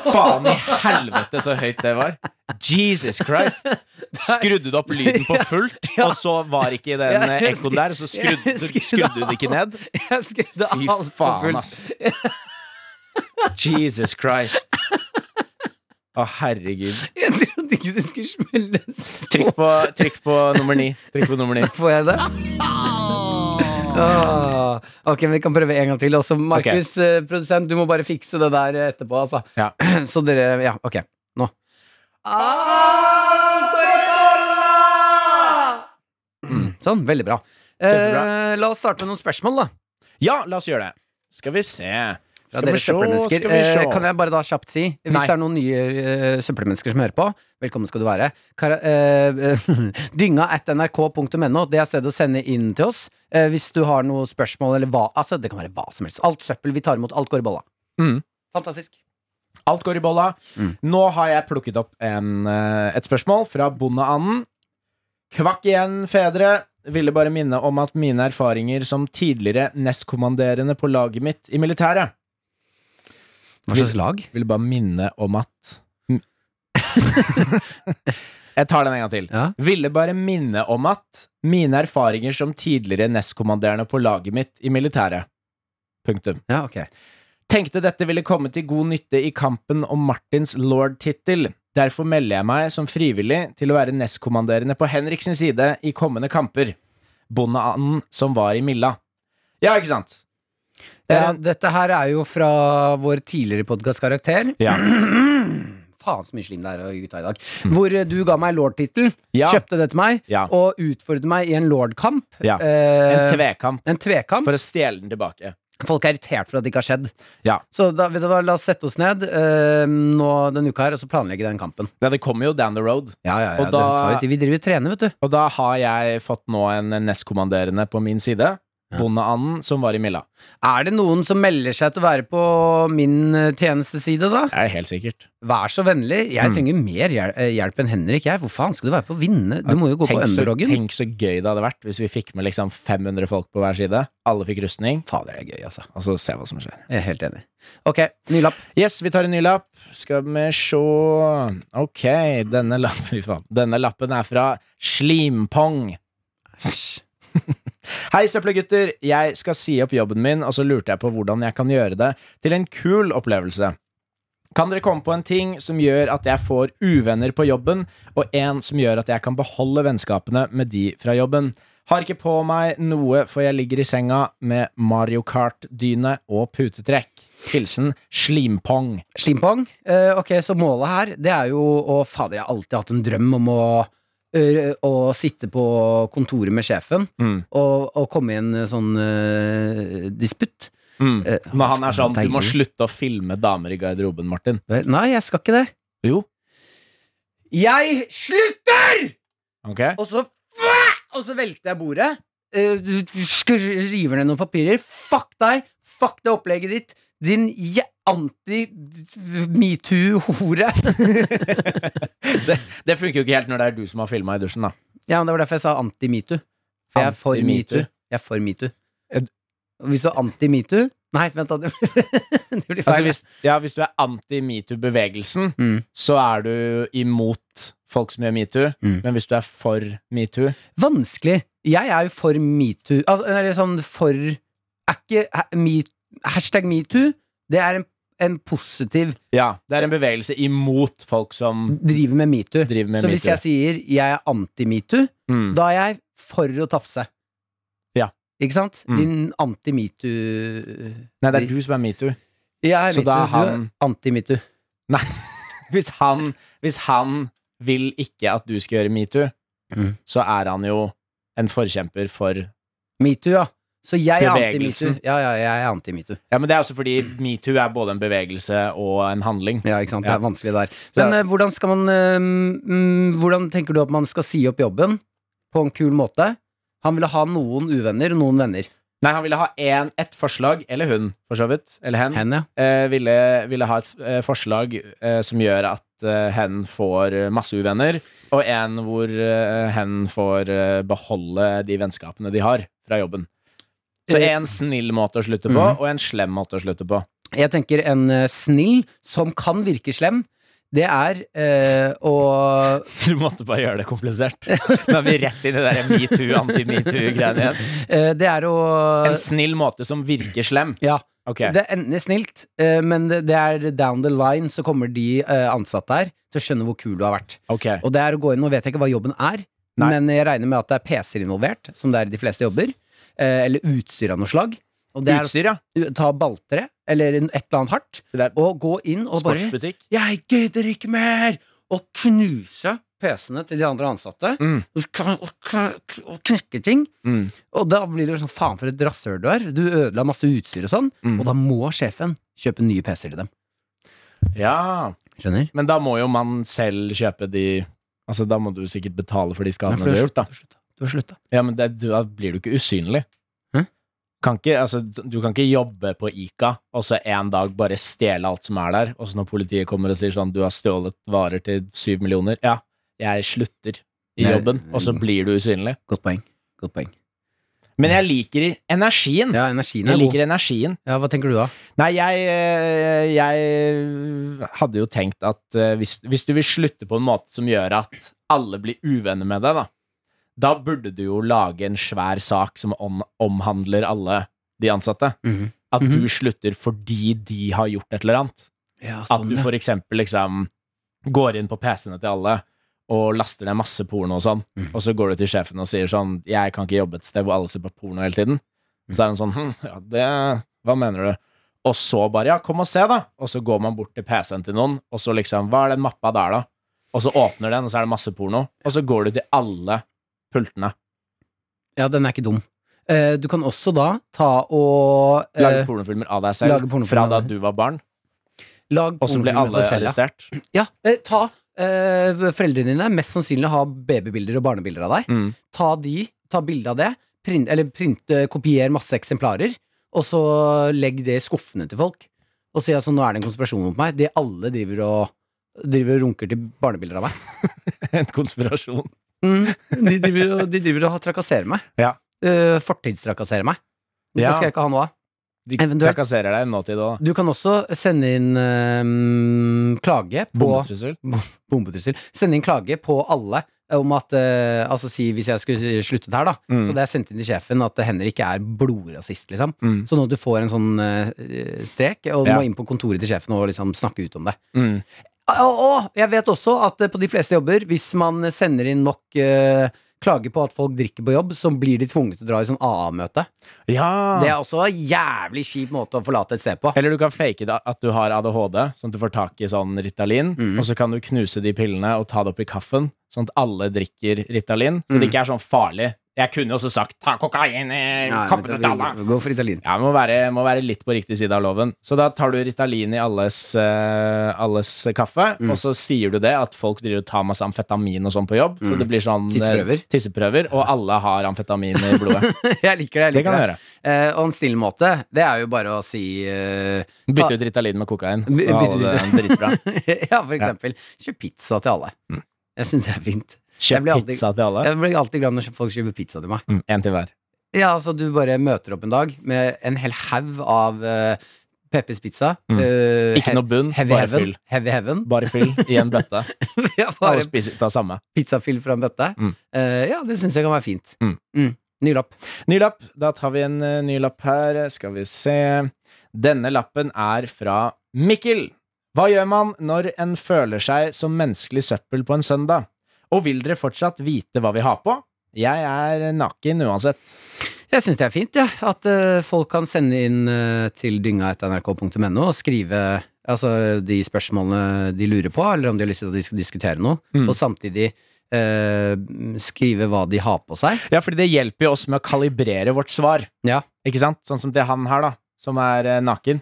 C: Faen i helvete så høyt det var. Jesus Christ. Skrudde du opp lyden på fullt, og så var ikke den eh, ekkoen der, så skrudde, så skrudde du det ikke ned?
D: Jeg skrudde
C: Fy
D: alt på
C: faen,
D: fullt.
C: ass. Jesus Christ. Å, herregud.
D: Jeg trodde ikke det skulle smelle
C: Trykk
D: så
C: på, trykk på nummer ni. Trykk på nummer ni.
D: Får jeg det? Åh. Ok, men vi kan prøve en gang til. Også Markus, eh, produsent, du må bare fikse det der eh, etterpå, altså.
C: Ja.
D: Så dere Ja, ok. Nå. Mm, Sånn. Veldig bra.
C: Kjempebra.
D: Eh, la oss starte med noen spørsmål, da.
C: Ja, la oss gjøre det. Skal vi se.
D: Fra
C: Skal vi
D: dere
C: sjå,
D: søppelmennesker.
C: skal vi sjå.
D: Eh, kan jeg bare da kjapt si, hvis
C: Nei.
D: det er noen nye eh, søppelmennesker som hører på, velkommen skal du være. Kara, eh, dynga at nrk.no, det er stedet å sende inn til oss. Eh, hvis du har noe spørsmål eller hva, altså det kan være hva som helst. Alt søppel vi tar imot, alt går i bolla.
C: Mm.
D: Fantastisk.
C: Alt går i bolla.
D: Mm.
C: Nå har jeg plukket opp en, eh, et spørsmål fra Bondeanden. Kvakk igjen, fedre. Ville bare minne om at mine erfaringer som tidligere nestkommanderende på laget mitt i militæret
D: Hva slags lag?
C: Ville bare minne om at Jeg tar den en gang til.
D: Ja.
C: Ville bare minne om at mine erfaringer som tidligere nestkommanderende på laget mitt i militæret. Punktum.
D: Ja, ok. Eh,
C: Tenkte dette ville komme til god nytte i kampen om Martins lord-tittel. Derfor melder jeg meg som frivillig til å være nestkommanderende på Henrik sin side i kommende kamper. Bondeanden som var i Milla. Ja, ikke sant? Det er
D: Ja,
C: en-
D: dette her er jo fra vår tidligere podkastkarakter.
C: Ja.
D: Faen så mye slim det er av gutta i dag. Hvor eh, du ga meg lord-tittel,
C: Ja.
D: kjøpte det til meg,
C: Ja.
D: og utfordret meg i en lord-kamp.
C: Ja. En
D: Eh,
C: tvekamp
D: en tvekamp.
C: for å stjele den tilbake.
D: Folk er irritert for at det ikke har skjedd.
C: Ja.
D: Så da, vet du hva, la oss sette oss ned eh, nå denne uka her, og så planlegge den kampen.
C: Ja, det kommer jo down the road. ja,
D: Og
C: det
D: da...
C: tar jo tid.
D: Vi driver og trener, vet du.
C: Og da har jeg fått nå en nestkommanderende på min side. Bondeanden som var i Milla.
D: Er det noen som melder seg til å være på min eh, tjenesteside, da?
C: Det er helt sikkert.
D: Vær så vennlig. Jeg
C: Mm.
D: trenger mer hjel eh, hjelp enn Henrik, jeg. Hvor faen skal du være på å vinne? Du må jo gå på
C: Tenk så,
D: underdoggen.
C: tenk så gøy det hadde vært hvis vi fikk med liksom 500 folk på hver side. Alle fikk rustning. Fader, det er gøy, altså. Og så se hva som skjer.
D: Jeg er helt enig. Ok, ny lapp.
C: Yes, vi tar en ny lapp. Skal vi sjå Ok, denne lappen Fy faen. Denne lappen er fra Slimpong. Hei, søppelgutter. Jeg skal si opp jobben min, og så lurte jeg på hvordan jeg kan gjøre det til en kul opplevelse. Kan dere komme på en ting som gjør at jeg får uvenner på jobben, og en som gjør at jeg kan beholde vennskapene med de fra jobben? Har ikke på meg noe, for jeg ligger i senga med Mario Kart-dyne og putetrekk. Hilsen Slimpong.
D: Slimpong. Eh, ok, så målet her, det er jo å Fader, jeg har alltid hatt en drøm om å eh, å sitte på kontoret med sjefen
C: Mm.
D: og, og komme i en eh, sånn eh, disputt.
C: Mm.
D: Eh,
C: Når han er sånn Du må
D: deilig.
C: slutte å filme damer i garderoben, Martin.
D: Vel, Nei, jeg skal ikke det.
C: Jo.
D: Jeg slutter!
C: Ok?
D: Og så Og så velter jeg bordet. Eh, du- du sk- river ned noen papirer. Fuck deg! Fuck det opplegget ditt! Din je- anti-metoo-hore.
C: Det, det funker jo ikke helt når det er du som har filma i dusjen, da.
D: Ja, men Det var derfor jeg sa anti-metoo. For jeg er for
C: Anti-metoo.
D: metoo. Jeg er for metoo.
C: Er du-
D: Hvis du er anti-metoo Nei, vent, da. Det blir, det blir
C: Altså,
D: feil.
C: hvis, ja, hvis du er anti-metoo-bevegelsen,
D: Mm.
C: så er du imot folk som gjør metoo.
D: Mm.
C: Men hvis du er for metoo
D: Vanskelig. Jeg er jo for metoo. Altså, eller sånn for Er ikke ha- me, Hashtag metoo, det er en, en positiv
C: Ja, det er en bevegelse imot folk som
D: Driver med metoo.
C: Mm. driver med
D: Så hvis
C: metoo.
D: jeg sier jeg er anti-metoo,
C: Mm.
D: da er jeg for å tafse.
C: Ja.
D: Ikke sant?
C: Mm.
D: Din anti-metoo
C: Nei, det er du som er metoo.
D: Jeg er
C: Så
D: metoo,
C: da er
D: du er
C: han-
D: anti-metoo.
C: Hvis han, hvis han vil ikke at du skal gjøre metoo,
D: Mm.
C: så er han jo en forkjemper for
D: Metoo, ja. Så jeg er anti-metoo.
C: Bevegelsen.
D: Ja, ja, jeg er anti-metoo.
C: Ja, men det er også fordi metoo er både en bevegelse og en handling.
D: Ja, ikke sant. Det
C: Ja.
D: er vanskelig der. Men eh, hvordan skal man eh, mm, Hvordan tenker du at man skal si opp jobben på en kul måte? Han ville ha noen uvenner og noen venner.
C: Nei, han ville ha en, ett forslag, eller hun, for så vidt, eller hen,
D: Hen, ja.
C: eh, ville, ville ha et eh, forslag eh, som gjør at eh, hen får eh, masse uvenner, og en hvor eh, hen får eh, beholde de vennskapene de har fra jobben. Så
D: Eh,
C: en snill måte å slutte på,
D: mhm.
C: og en slem måte å slutte på.
D: Jeg tenker en eh, snill som kan virke slem. Det er eh, å
C: Du måtte bare gjøre det komplisert. Nå er vi rett i det der metoo, anti-metoo-greiene igjen.
D: eh, Det er å
C: En snill måte som virker slem.
D: Ja.
C: Ok.
D: Det er enten snilt, eh, men det det er down the line så kommer de eh, ansatte her til å skjønne hvor kul du har vært.
C: ok.
D: Og det er å gå inn, nå vet jeg ikke hva jobben er,
C: Nei.
D: men jeg regner med at det er PC-er involvert, som det er i de fleste jobber. Eh, eller utstyr av noe slag. Og det er å
C: Utstyr, ja.
D: u- ta balltre, eller en- et eller annet hardt,
C: Det er
D: og gå inn og bare
C: sportsbutikk.
D: Jeg gidder ikke mer! Og knuse PC-ene til de andre ansatte.
C: Mm.
D: Og, kn- og, kn- og knekke ting.
C: Mm.
D: Og da blir det jo sånn faen for et rasshøl du er. Du ødela masse utstyr og sånn.
C: Mm.
D: Og da må sjefen kjøpe nye PC-er til dem.
C: Ja,
D: Skjønner?
C: men da må jo man selv kjøpe de Altså, da må du sikkert betale for de skadene du har gjort, da.
D: Du har slutta.
C: Ja, men det, da blir du ikke usynlig.
D: Hæ?
C: Kan ikke, altså, du kan ikke jobbe på Ica, og så en dag bare stjele alt som er der, og så når politiet kommer og sier sånn, du har stjålet varer til syv millioner, ja, jeg slutter i
D: Nei.
C: jobben, og så blir du usynlig.
D: Godt poeng. Godt poeng.
C: Men jeg liker energien.
D: Ja, energien
C: Mm. Jeg
D: er god.
C: liker energien.
D: Ja, hva tenker du da?
C: Nei, jeg, eh, jeg hadde jo tenkt at eh, hvis, hvis du vil slutte på en måte som gjør at alle blir uvenner med deg, da, da burde du jo lage en svær sak som om, omhandler alle de ansatte. At
D: Mhm.
C: du slutter fordi de har gjort et eller annet.
D: Ja,
C: At du for eksempel liksom går inn på PC-ene til alle og laster ned masse porno og sånn,
D: Mhm.
C: og så går du til sjefen og sier sånn 'Jeg kan ikke jobbe et sted hvor alle ser på porno hele tiden'. Så er han sånn hm, 'Ja, det Hva mener du?' Og så bare 'Ja, kom og se, da'. Og så går man bort til PC-en til noen, og så liksom 'Hva er den mappa der, da?' Og så åpner den, og så er det masse porno. Og så går du til alle pultene.
D: ja, den er ikke dum. Eh, du kan også da ta og eh,
C: Lage pornofilmer av deg
D: lage
C: selv
D: pornofilmer
C: fra da
D: av deg.
C: du var barn,
D: lag
C: og så ble
D: pornofilmer
C: alle
D: for å selge.
C: arrestert.
D: Ja, eh, ta eh, foreldrene dine, mest sannsynlig har babybilder og barnebilder av deg.
C: Mm.
D: ta de, ta bilde av det, print, eller print, eh, kopier masse eksemplarer, og så legg det i skuffene til folk. Og si altså, nå er det en konspirasjon mot meg. De alle driver og driver og runker til barnebilder av meg. Mm,
C: En konspirasjon.
D: De driver og, de driver og trakasserer meg.
C: Ja.
D: Eh, fortidstrakasserer meg. Dette
C: Ja.
D: skal jeg ikke ha noe av.
C: De
D: Eventuelt.
C: trakasserer deg i nåtid òg.
D: Du kan også sende inn eh, klage på
C: Bombetrussel.
D: Bombetrussel. Sende inn klage på alle om at eh, Altså si hvis jeg skulle sluttet her, da.
C: Mm.
D: Så det er sendt inn til sjefen at Henrik er blodrasist, liksom.
C: Mm.
D: Sånn at du får en sånn eh, strek, og du
C: Ja.
D: må inn på kontoret til sjefen og liksom snakke ut om det. Ah,
C: Mm.
D: Og, og jeg vet også at eh, på de fleste jobber, hvis man sender inn nok eh, klager på at folk drikker på jobb, så blir de tvunget til å dra i sånn AA-møte.
C: Ja.
D: Det er også en jævlig kjip måte å forlate et sted på.
C: Eller du kan flake det at du har ADHD, sånn at du får tak i sånn Ritalin.
D: Mm.
C: Og så kan du knuse de pillene og ta det opp i kaffen, sånn at alle drikker Ritalin. Så
D: Mm.
C: det ikke er sånn farlig. Jeg kunne jo også sagt 'ta kokain i koppen til alle'.
D: Gå for Italien.
C: Ja, må være, må være litt på riktig side av loven. Så da tar du Ritalin i alles, eh, alles kaffe,
D: Mm.
C: og så sier du det at folk driver og tar masse amfetamin og sånn på jobb. Så
D: Mm.
C: det blir sånn eh,
D: Tisseprøver.
C: tisseprøver, og alle har amfetamin i blodet.
D: Jeg liker det. jeg
C: det kan du
D: liker det.
C: gjøre.
D: Eh, og en snill måte, det er jo bare å si eh,
C: Bytte ut Ritalin med kokain.
D: By-
C: Så
D: bytte
C: alle
D: ut-
C: dritbra.
D: Ja, for eksempel. Kjøp pizza til alle.
C: Mm.
D: Jeg syns det er fint. Jeg
C: Kjøp
D: blir alltid-
C: pizza til alle.
D: Jeg blir alltid glad når folk kjøper pizza til meg.
C: Mm, En til hver.
D: Ja, altså Du bare møter opp en dag med en hel haug av eh, Peppers pizza.
C: Mm.
D: eh,
C: Ikke noe bunn,
D: heavy
C: bare
D: heaven.
C: fyll.
D: Heavy heaven.
C: Bare fyll i en bøtte.
D: ja,
C: Alle
D: bare
C: spiser ut av samme.
D: pizzafyll fra en bøtte.
C: Mm.
D: Eh, ja, det syns jeg kan være fint.
C: Mm.
D: Ny lapp.
C: Ny lapp. Da tar vi en eh, ny lapp her. Skal vi se. Denne lappen er fra Mikkel. Hva gjør man når en føler seg som menneskelig søppel på en søndag? Og vil dere fortsatt vite hva vi har på? Jeg er naken uansett.
D: Jeg syns det er fint, ja, at eh, folk kan sende inn eh, til dynga.nrk.no og skrive altså, de spørsmålene de lurer på, eller om de har lyst til at de skal diskutere noe,
C: Mm.
D: og samtidig eh, skrive hva de har på seg.
C: Ja, fordi det hjelper jo oss med å kalibrere vårt svar.
D: Ja.
C: Ikke sant? Sånn som det han her, da, som er eh, naken.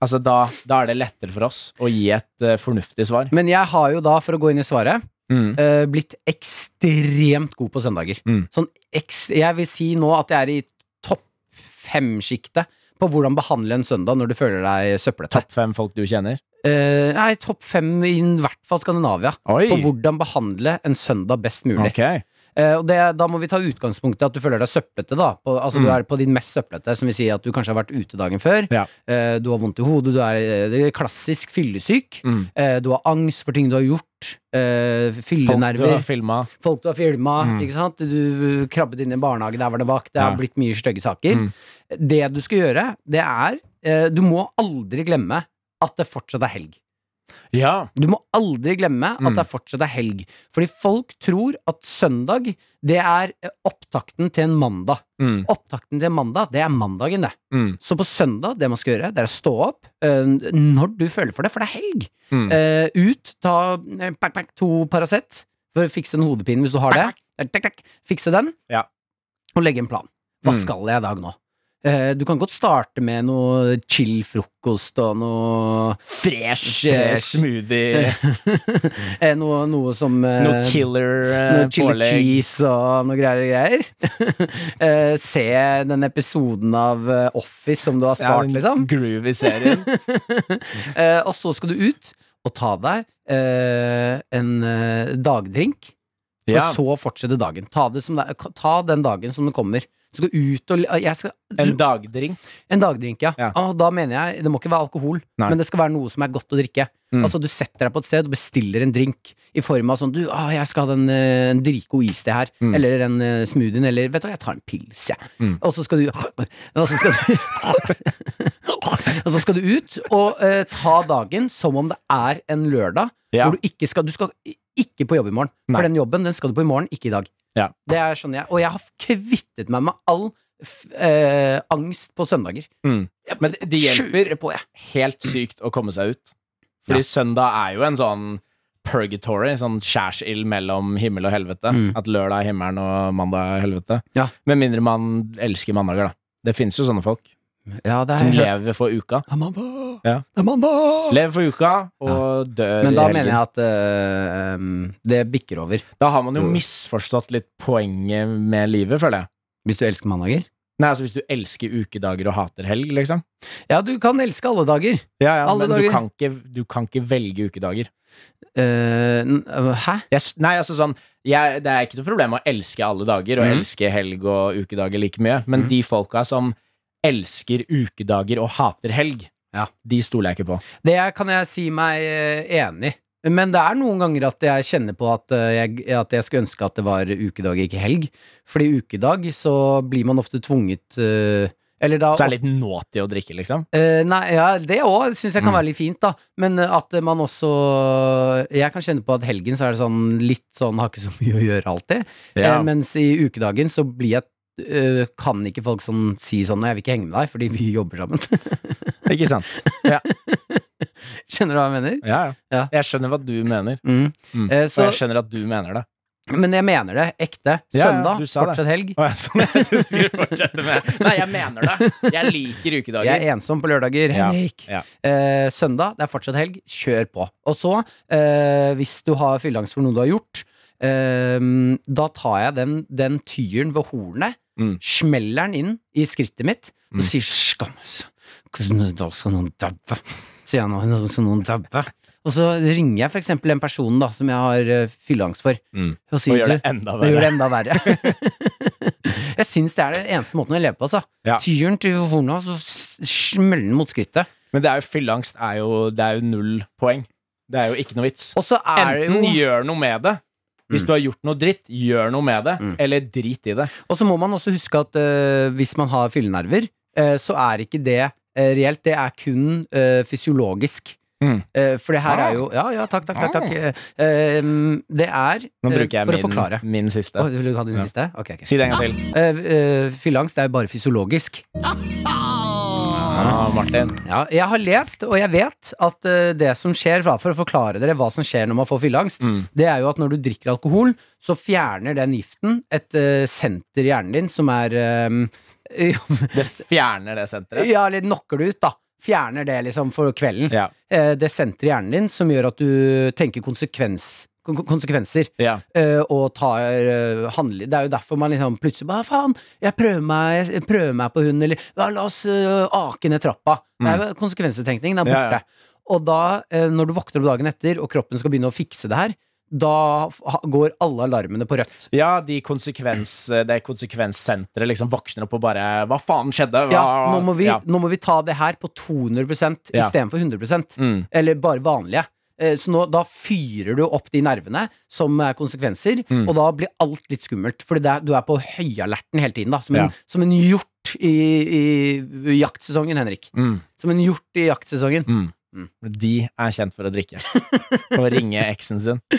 C: Altså, da, da er det lettere for oss å gi et eh, fornuftig svar.
D: Men jeg har jo da, for å gå inn i svaret,
C: Mm.
D: eh, blitt ekstremt god på søndager.
C: Mm.
D: Sånn eks- jeg vil si nå at jeg er i topp fem-sjiktet på hvordan behandle en søndag når du føler deg søppelete.
C: Topp fem folk du kjenner.
D: Eh, nei, topp fem i hvert fall Skandinavia.
C: Oi!
D: på hvordan behandle en søndag best mulig.
C: Ok.
D: Eh, og det, da må vi ta utgangspunktet at du føler deg søplete, da. På, altså du
C: Mm.
D: er på din mest søplete, som vil si at du kanskje har vært ute dagen før.
C: Ja.
D: Eh, du har vondt i hodet, du er, eh, det er klassisk fyllesyk.
C: Mm.
D: Eh, du har angst for ting du har gjort. Eh,
C: Folk du har
D: fyllenerver.
C: filma.
D: Folk du har filma.
C: Mm.
D: Ikke sant? Du krabbet inn i en barnehage, der var det vakt. Det har
C: Ja.
D: blitt mye stygge saker.
C: Mm.
D: Det du skal gjøre, det er eh, Du må aldri glemme at det fortsatt er helg.
C: Ja.
D: Du må aldri glemme at
C: Mm.
D: det fortsatt er helg. Fordi folk tror at søndag, det er eh, opptakten til en mandag.
C: Mm,
D: Opptakten til en mandag, det er mandagen, det.
C: mm,
D: Så på søndag, det man skal gjøre, det er å stå opp eh, når du føler for det, for det er helg.
C: mm.
D: Eh, ut, ta eh, pakk, pakk, to Paracet for å fikse en hodepine hvis du har det. Eh, Takk, takk, fikse den,
C: Ja.
D: og legge en plan. Hva
C: Mm.
D: skal jeg i dag nå? Eh, du kan godt starte med noe chill frokost og noe
C: Fresh
D: eh,
C: smoothie,
D: eh, noe, noe som eh,
C: noe killer eh,
D: Noe chili
C: pålegg.
D: cheese og noe greier og greier. Eh, se den episoden av eh, Office som du har
C: Ja,
D: spart, liksom.
C: Groovy serien.
D: Eh, og så skal du ut og ta deg eh, en eh, dagdrink,
C: Ja.
D: og så fortsette dagen. Ta, det som det, er- ta den dagen som den kommer. Du skal ut og jeg skal,
C: En dagdrink.
D: En dagdrink, ja.
C: Ja.
D: Ah, da mener jeg Det må ikke være alkohol,
C: Nei.
D: men det skal være noe som er godt å drikke.
C: Mm.
D: Altså Du setter deg på et sted og bestiller en drink i form av sånn Du, ah, jeg skal ha den, eh, en dritgod is til her.
C: Mm.
D: Eller en eh, smoothie. Eller vet du hva, jeg tar en pils, jeg.
C: Mm.
D: Og så skal du Og så skal du, og så skal du ut og eh, ta dagen som om det er en lørdag.
C: Ja.
D: Hvor du ikke skal Du skal i- ikke på jobb i morgen.
C: Nei.
D: For den jobben den skal du på i morgen, ikke i dag.
C: Ja.
D: Det er sånn jeg Og jeg har kvittet meg med all f eh, angst på søndager.
C: Mm. Men det- det hjelper
D: Kjører på, jeg.
C: Helt sykt å komme seg ut. Fordi søndag er jo en sånn purgatory, sånn skjærsild mellom himmel og helvete.
D: Mm.
C: At lørdag er himmelen og mandag er helvete.
D: Ja.
C: Med mindre man elsker mandager, da. Det finnes jo sånne folk
D: Ja, det
C: som
D: er
C: lever for uka.
D: Det er mandag!
C: Ja.
D: Det er mandag!
C: Lever for uka og dør
D: Men
C: i
D: da
C: helgen.
D: mener jeg at eh, um, det bikker over.
C: Da har man jo
D: Jo.
C: misforstått litt poenget med livet, føler jeg.
D: Hvis du elsker mandager.
C: Nei, altså Hvis du elsker ukedager og hater helg, liksom.
D: Ja, du kan elske alle dager.
C: Ja, ja,
D: Alle
C: Men du
D: dager.
C: kan, ikke, du kan ikke velge ukedager.
D: Eh, n- øh, hæ?
C: Jeg, s- nei, altså sånn jeg, Det er ikke noe problem å elske alle dager, og
D: Mhm.
C: elske helg og ukedager like mye, men
D: Mhm.
C: de folka som elsker ukedager og hater helg,
D: Ja.
C: de stoler jeg ikke på.
D: Det kan jeg si meg eh, enig i. Men det er noen ganger at jeg kjenner på at eh, jeg, at jeg skulle ønske at det var ukedag, ikke helg. Fordi ukedag så blir man ofte tvunget eh, Eller da
C: Så er det litt naughty å drikke, liksom?
D: Eh, nei, ja, det òg syns
C: Mm.
D: jeg kan være litt fint, da. Men eh, at man også eh, Jeg kan kjenne på at helgen så er det sånn litt sånn har ikke så mye å gjøre alltid. Eh, mens i ukedagen så blir jeg eh, Kan ikke folk sånn si sånn Nei, jeg vil ikke henge med deg fordi vi jobber sammen.
C: Ikke sant?
D: Skjønner du hva jeg mener?
C: Ja, ja.
D: Ja.
C: Jeg skjønner hva du mener,
D: Mm.
C: Mm.
D: Eh,
C: og
D: så,
C: jeg skjønner at du mener det.
D: men jeg mener det. Ekte.
C: Ja, ja,
D: Søndag,
C: du sa det.
D: fortsatt helg.
C: Å, ja, sånn, jeg trodde du skulle fortsette med Nei, jeg mener det. Jeg liker
D: Jeg
C: ukedager.
D: er ensom på lørdager.
C: Ja,
D: Henrik.
C: ja.
D: Eh, søndag, det er fortsatt helg. Kjør på. Og så, eh, hvis du har fylleangst for noe du har gjort, eh, da tar jeg den, den tyren ved hornet,
C: Mm.
D: smeller den inn i skrittet mitt og
C: Mm.
D: sier 'skammes'. Hvordan i dag skal noen dabbe? Sier jeg nå. «Nå Skal noen dabbe? Og så ringer jeg for eksempel den personen da, som jeg har eh, fylleangst for,
C: Mm.
D: og
C: Og
D: sier
C: gjør
D: du
C: det enda
D: det gjør
C: verre.
D: det enda verre. jeg syns det er den eneste måten å leve på. Altså.
C: Ja.
D: Tyren til hornet, og så s- smeller den mot skrittet.
C: Men det er jo fylleangst er jo, det er jo null poeng. Det er jo ikke noe vits.
D: Og så er det
C: Enten
D: jo
C: gjør noe med det. Hvis
D: Mm.
C: du har gjort noe dritt, gjør noe med det.
D: Mm.
C: Eller drit i det.
D: Og så må man også huske at øh, hvis man har fyllenerver, øh, så er ikke det øh, reelt. Det er kun øh, fysiologisk.
C: Mm.
D: Eh, for det her
C: Ah.
D: er jo Ja, ja, takk, takk, takk. takk. Eh, ehm, det er
C: Nå
D: eh,
C: bruker jeg
D: For å
C: min,
D: forklare.
C: min siste.
D: Å, vil du ha din
C: Ja.
D: siste? Ok, ok.
C: Si det en gang til.
D: Eh, eh, fylleangst er jo bare fysiologisk.
C: Ah, Martin.
D: Ja, jeg har lest, og jeg vet, at eh, det som skjer da, For å forklare dere hva som skjer når man får fylleangst,
C: Mm.
D: det er jo at når du drikker alkohol, så fjerner den giften et eh, senter i hjernen din som er eh,
C: Det fjerner det senteret.
D: Ja, eller knocker det ut, da. Fjerner det liksom for kvelden.
C: Ja.
D: Eh, det senteret i hjernen din som gjør at du tenker konsekvens, kon konsekvenser.
C: ja.
D: eh, og tar eh, handli- Det er jo derfor man liksom plutselig bare faen, jeg prøver meg, jeg prøver meg på hun, eller ja, la oss eh, ake ned trappa. Det er jo konsekvensetenkning. Det er
C: Mm. Ja, ja.
D: borte. Og da, eh, når du våkner opp dagen etter, og kroppen skal begynne å fikse det her, da f- ha- går alle alarmene på rødt.
C: Ja, de konsekvens, eh, det konsekvenssenteret liksom våkner opp og bare Hva faen skjedde? Hva?
D: Ja, nå må vi,
C: Ah, Ja.
D: nå må vi ta det her på 200
C: Ja.
D: istedenfor 100
C: Mm.
D: eller bare vanlige. Eh, Så nå, da fyrer du opp de nervene som er konsekvenser,
C: Mm.
D: og da blir alt litt skummelt. Fordi det er, du er på høyalerten hele tiden, da. Som en,
C: Ja.
D: som en hjort i, i, jaktsesongen, Henrik.
C: Mm.
D: Som en hjort i jaktsesongen. Mm.
C: De er kjent for å drikke. Og ringe eksen sin.
D: Var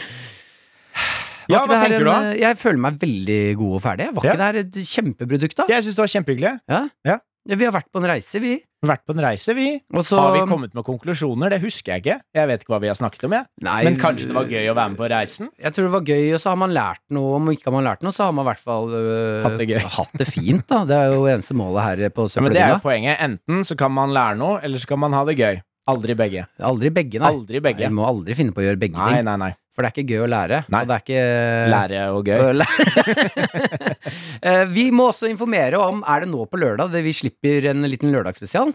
C: Ja, hva
D: ikke det her
C: tenker du,
D: en,
C: da?
D: eh, Jeg føler meg veldig god og ferdig. Var
C: Ja.
D: ikke det her et kjempeprodukt, da?
C: Jeg syns det var kjempehyggelig.
D: Ja, Vi har vært på en reise, vi.
C: Vært på en reise, vi.
D: Og så
C: Har vi kommet med konklusjoner? Det husker jeg ikke. Jeg vet ikke hva vi har snakket om, jeg.
D: Nei,
C: Men kanskje det var gøy å være med på reisen?
D: Jeg tror det var gøy, og så har man lært noe. Om ikke har man lært noe, så har man i hvert fall øh,
C: Eh, Hatt det gøy.
D: hatt det fint, da. Det er jo eneste målet her på
C: Ja, men det er jo
D: søppeldynga.
C: poenget. Enten så kan man lære noe, eller så kan man ha det gøy. Aldri begge.
D: Aldri begge, nei.
C: Aldri
D: Nei,
C: begge.
D: Vi må aldri finne på å gjøre begge
C: Nei,
D: ting.
C: nei, nei.
D: For det er ikke gøy å lære.
C: Nei.
D: Og det er ikke
C: Lære og gøy.
D: Å lære. Eh, vi må også informere om Er det nå på lørdag det vi slipper en liten lørdagsspesial.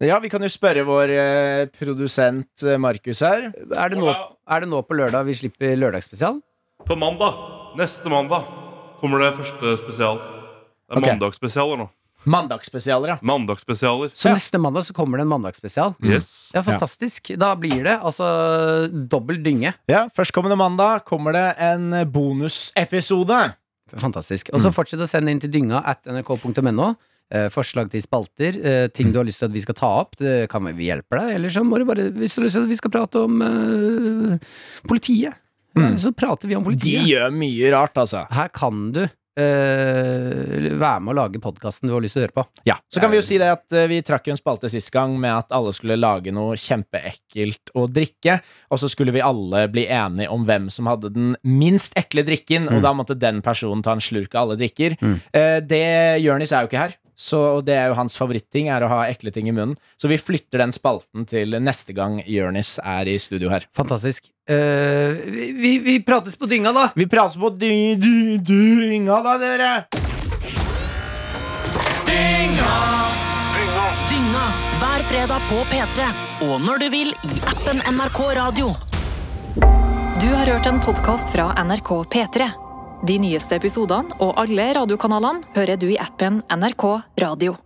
C: Ja, vi kan jo spørre vår eh, produsent eh, Markus her.
D: Er det nå, er det nå på lørdag vi slipper lørdagsspesial?
E: På mandag, neste mandag, kommer det første spesial. Det er
C: Ok.
E: mandagsspesialer nå.
C: Mandagsspesialer, ja.
E: Mandagsspesialer.
D: Så
C: Ja.
D: neste mandag så kommer det en mandagsspesial.
E: Yes.
D: Ja, fantastisk. Da blir det altså dobbel dynge.
C: ja. Førstkommende mandag kommer det en bonusepisode.
D: Fantastisk. Og så fortsett å sende inn til dynga at nrk.no. Eh, forslag til spalter, eh, ting du har lyst til at vi skal ta opp. Det kan vi- vi hjelpe deg. Eller så må du bare Hvis du har lyst til at vi skal prate om eh, politiet, eh, så prater vi om
C: De
D: politiet.
C: gjør mye rart, altså.
D: Her kan du eh, være med å lage podkasten du har lyst til å høre på.
C: Ja, Så kan vi jo si det at eh, vi trakk jo en spalte sist gang med at alle skulle lage noe kjempeekkelt å drikke, og så skulle vi alle bli enige om hvem som hadde den minst ekle drikken, og da måtte den personen ta en slurk av alle drikker. Eh, Det Jørnis er jo ikke her, så og det er jo hans favoritting, er å ha ekle ting i munnen. Så vi flytter den spalten til neste gang Jørnis er i studio her.
D: Fantastisk. Eh, vi, vi, vi prates på dynga, da!
C: Vi prater på dy- dy- dynga da, dere!
F: Dynga hver fredag på P3. Og når du vil i appen NRK Radio.
A: Du har hørt en podkast fra NRK P3. De nyeste episodene og alle radiokanalene hører du i appen NRK Radio.